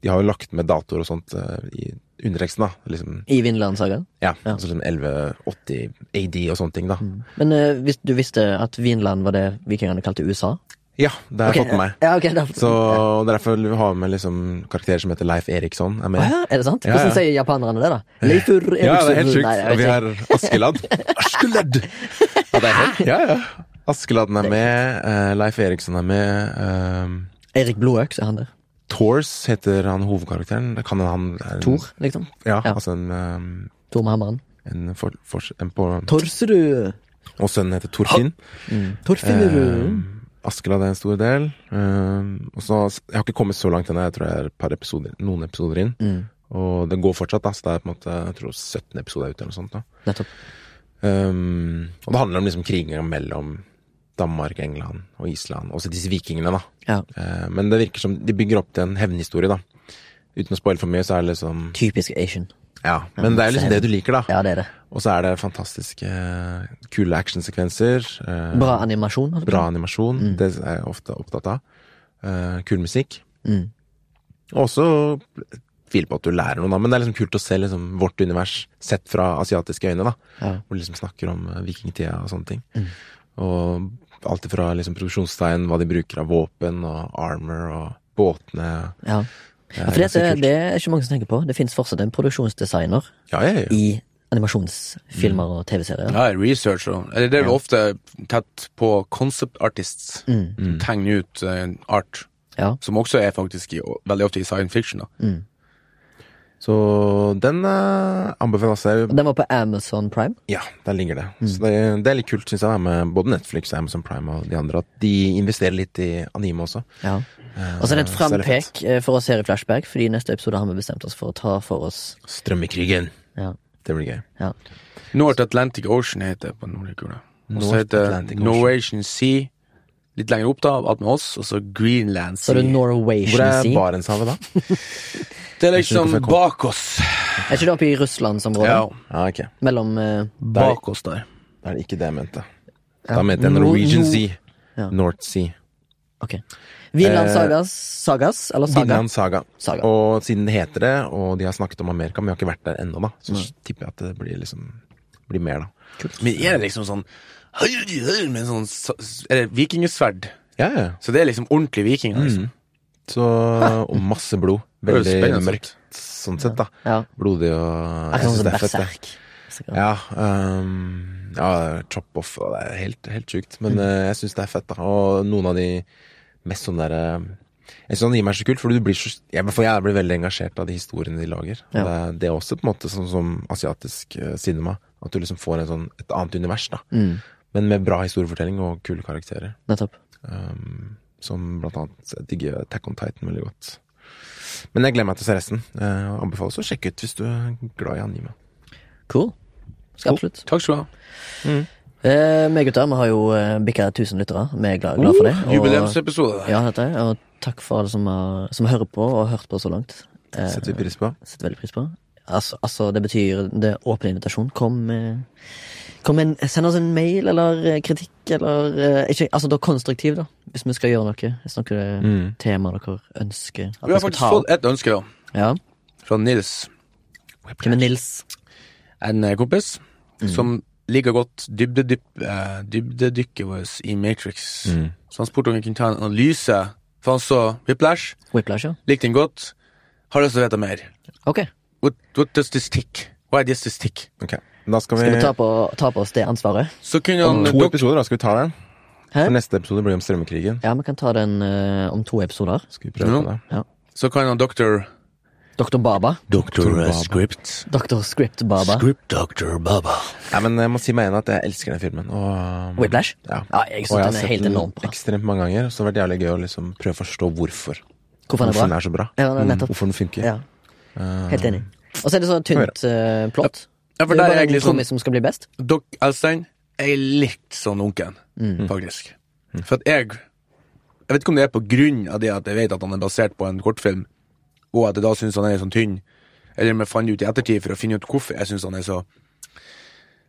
de har jo lagt med datoer og sånt eh, i underteksten, da. Liksom, I Vinland-sagaen. ja, Altså liksom 1180 AD og sånne ting, da. Men eh, hvis du visste at Vinland var det vikingene kalte USA? Ja, det har jeg fått med meg. Ja, ok, da, Så og derfor har vi med liksom karakterer som heter Leif Eriksson. Er med. Ah, ja, er det sant? Ja, ja. Hvordan sier japanerne det, da? Leifur Eriksson Ja, det er helt sjukt. Nei, jeg vet Og vi ikke. har Askeladd. Askeladd! Ja, det er helt, ja, ja. Askeladden er med, eh, Leif Eriksson er med. eh, Mm. Erik Blodøks er han der. Tors heter han hovedkarakteren. Det Kan han er en- Tor, liksom. Ja, Ja. altså en, um, Tor med hammeren. en, for, for, en på, Torserud! Mm. Og sønnen heter Torfinn. Torfinnerud! Um, Askeladd er en stor del. Um, og så, jeg har ikke kommet så langt ennå. Jeg tror jeg er et par episoder, noen episoder inn. mm, Og det går fortsatt. Da, så det er på en måte, jeg tror 17 episoder ute eller noe sånt. da Nettopp. Um, og det handler om liksom krigen mellom Danmark, England og Island. Også disse vikingene, da. Ja. Eh, men det virker som de bygger opp til en hevnhistorie, da. Uten å spoile for mye, så er det liksom Typisk Asian. Ja. Men det er liksom det du liker, da. Ja, det er det. Og så er det fantastiske, kule actionsekvenser. eh, Bra animasjon. holdt jeg på bra animasjon. Mm. Det er jeg ofte opptatt av. Eh, kul musikk. å si. Mm. Og også tviler på at du lærer noe, da. Men det er liksom kult å se liksom, vårt univers sett fra asiatiske øyne, da. Ja. Hvor de liksom snakker om eh, vikingtida og sånne ting. Mm. Og alt ifra liksom produksjonstegn, hva de bruker av våpen og armor og båtene. Ja. Det Ja, for det, ganske kult. det er ikke mange som tenker på. Det finnes fortsatt en produksjonsdesigner Ja, ja, ja. i animasjonsfilmer og TV-serier. Ja, research og eller Det er jo ofte tett på concept artists. Mm. Som tegner ut eh, art, Ja. som også er faktisk i, veldig ofte i science fiction. da Mm. Så den eh, anbefales jeg. Den var på Amazon Prime. Ja, der ligger det. Så det, det er litt kult, syns jeg, da, med både Netflix, Amazon Prime og de andre, at de investerer litt i anime også. Ja. Og så er det et så det er litt frampek eh, for oss her i Flashback, fordi i neste episode har vi bestemt oss for å ta for oss Strømmekrigen. Ja. Det blir gøy. ja. North Atlantic Ocean heter det på nordlige Og så North heter Atlantic det Ocean. Norwegian Sea litt lenger opp, da, alt med oss, og så Greenland Så Sea. er det Hvor Norwegian er Sea. Barentshavet, da? Det er Jeg liksom skjønner ikke hvorfor jeg kom- bak oss. Er ikke det oppe i Russlandsområdet? Ja, Ja, Ah, ok. Mellom eh, bak oss der. Da er det ikke det jeg mente. Ja. Da mente jeg No- Norwegian no- Sea. Ja. North Sea. Ok. Vinland Eh, Sagas, Sagas eller Saga? Vinland Saga. Saga. Og siden det heter det, og de har snakket om Amerika, men vi har ikke vært der ennå, da. Så tipper jeg at det blir liksom blir mer, da. Men er det liksom sånn høy, høy, med sånn s- s- Er det vikingsverd? Ja, ja. Så det er liksom ordentlig vikinger, liksom. Så, og masse blod. Det høres Veldig spennende ut. mørkt, sånn sett, da. Ja. Blodig Akkurat sånn og jeg som synes det er fett, Berserk. det. Ja. ehm, ja, chop off, og det er helt, helt sjukt. Mm. Men eh, jeg syns det er fett, da. Og noen av de mest sånn derre jeg synes han gir meg så kult, for du blir så, jeg, for jeg blir veldig engasjert av de historiene de lager. Og Ja. Det, er- det er også på en måte sånn som asiatisk eh, cinema, at du liksom får en sånn, et annet univers, da. Mm, Men med bra historiefortelling og kule karakterer. nettopp. Um, som blant annet jeg digger Attack on Titan veldig godt. Men jeg gleder meg til å se resten. Eh, og anbefales å sjekke ut hvis du er glad i anime. Cool. Skal absolutt. Mm. Takk skal du ha. Eh, vi gutter, vi har jo eh, bikka 1000 lyttere. Vi er glad, glad for det. og- Jubileumsepisode. der. Ja, dette er, og takk for alle som, har, som hører på og har hørt på så langt. Eh, Det setter vi pris på. setter veldig pris på. Altså, altså det betyr det er åpen invitasjon. Kom, eh, kom en, send oss en mail eller eh, kritikk eller eh, ikke, Altså, da konstruktiv, da, hvis vi skal gjøre noe. Hvis noe Mm. tema dere ønsker at Vi vi har skal faktisk ta fått opp. et ønske, da. Ja. Fra Nils. Hvem er Nils? en eh, kompis som liker godt dybdedyp- eh, dybdedykket vårt i Matrix. Mm. Så han spurte om vi kunne ta en analyse, for han så Whiplash, Whiplash, ja? likte den godt, har lyst til å vite mer. Ok. What, what does this tick? Why does this tick? Ok, Da skal vi, Skal vi ta på, ta på oss det ansvaret? Så kunne han Om to dok- episoder, da. Skal vi ta den? Sånn, Hæ? For neste episode blir om strømmekrigen. Ja, vi kan ta den eh, om to episoder. Skal vi prøve Ja. på det? Så kan han doktor Dr. Baba. Doktor eh, Script. Dr. Script Baba. Script Doctor Baba. Nei, men jeg må si meg enig at jeg elsker den filmen. Og, um, Whiplash? Ja. Ja, jeg og synes jeg den har er sett helt den enormt bra. ekstremt mange ganger, så det har vært jævlig gøy å liksom prøve å forstå hvorfor. Hvorfor den er den bra? er så bra. Ja, Mm, nettopp. Hvorfor den funker. Ja. Helt enig. Og så er det så tynt eh, plott. Ja, for det der er er jo bare egentlig en sånn trommis som skal bli best. Dok Elstein er litt sånn lunken, faktisk. For at jeg Jeg vet ikke om det er på grunn av det at jeg vet at han er basert på en kortfilm, og at jeg da syns han er sånn tynn, eller om jeg fant ut i ettertid for å finne ut hvorfor jeg syns han er så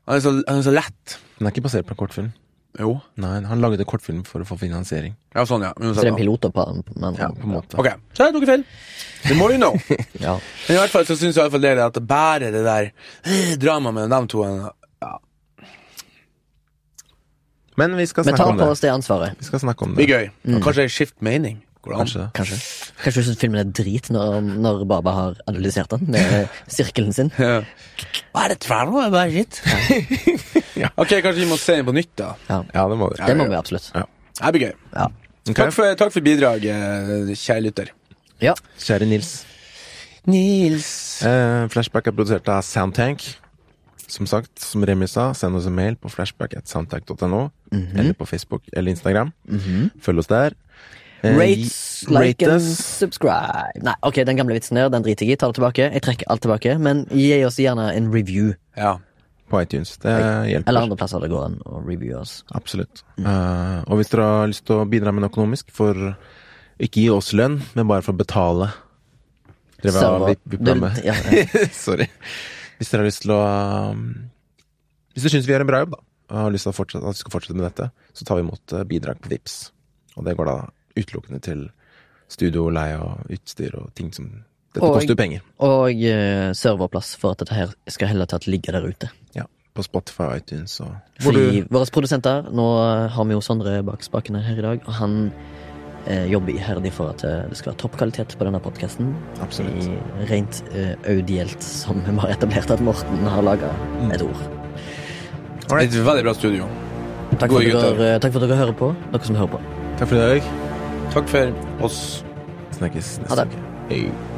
Han er så, han er så lett. Den er ikke basert på en kortfilm. Jo. Nei, han lagde kortfilm for å få finansiering. Ja, sånn, ja. Så det er Uansett, en da. pilot da, på på den På en andre. måte. Ok, så jeg tok feil. The more you know. Ja. Men i hvert fall så syns jeg i hvert fall det er at bare det der eh, dramaet mellom dem to ja, Men vi skal Vi snakke tar om på det. oss det ansvaret. Vi skal snakke om det. Blir gøy. Og kanskje jeg skifter mening. Går det an? Kanskje. Kanskje. Kanskje du syns filmen er drit når, når Baba har analysert den med sirkelen sin. Ja. Hva er det tvern om? Bare shit. Ok, kanskje vi må se den på nytt, da. Ja. Ja, det må vi. Det må vi absolutt. Det blir gøy. Ja. Ok. Takk for, takk for bidrag, eh, kjære lytter. Ja. Kjære Nils. Nils. Eh, flashback er produsert av Soundtank. Som sagt, som Remi sa, send oss en mail på flashback.soundtank.no. Mhm. Eller på Facebook eller Instagram. Følg oss der. Eh, Rates, gi- Mhm. like rate and us. subscribe. Nei, ok, den gamle vitsen der, den driter jeg i. Ta det tilbake. Jeg trekker alt tilbake. Men gi oss gjerne en review. Ja. på iTunes. Det hjelper. Eller andre plasser det går an å reviewe oss. Absolutt. Eh, og hvis dere har lyst til å bidra med noe økonomisk, for ikke gi oss lønn, men bare for å betale Dere var Server- vipp- vippa du- med. ja, ja. Sorry. Hvis dere har lyst til å um, Hvis dere syns vi gjør en bra jobb, da, og har lyst til å fortsette, at vi skal fortsette med dette, så tar vi imot eh, bidrag på Vips. Og det går da utelukkende til studio, leie og utstyr og ting som Dette Og- koster jo penger. Og eh, serverplass for at dette her skal heller tatt ligge der ute. Ja. På Spotify og iTunes og Hvor Fordi du- våre produsenter Nå har vi jo Sondre bak spakene her i dag, og han eh, jobber iherdig for at eh, det skal være toppkvalitet på denne podkasten. Absolutt. Rent eh, audielt, som vi har etablert at Morten har laga et ord. Et veldig bra studio. Takk Gode for, at gutter. dere, takk for at dere hører på. Dere som hører på. Takk for i dag. Takk for oss. Snakkes Ha neste det. uke. Hei.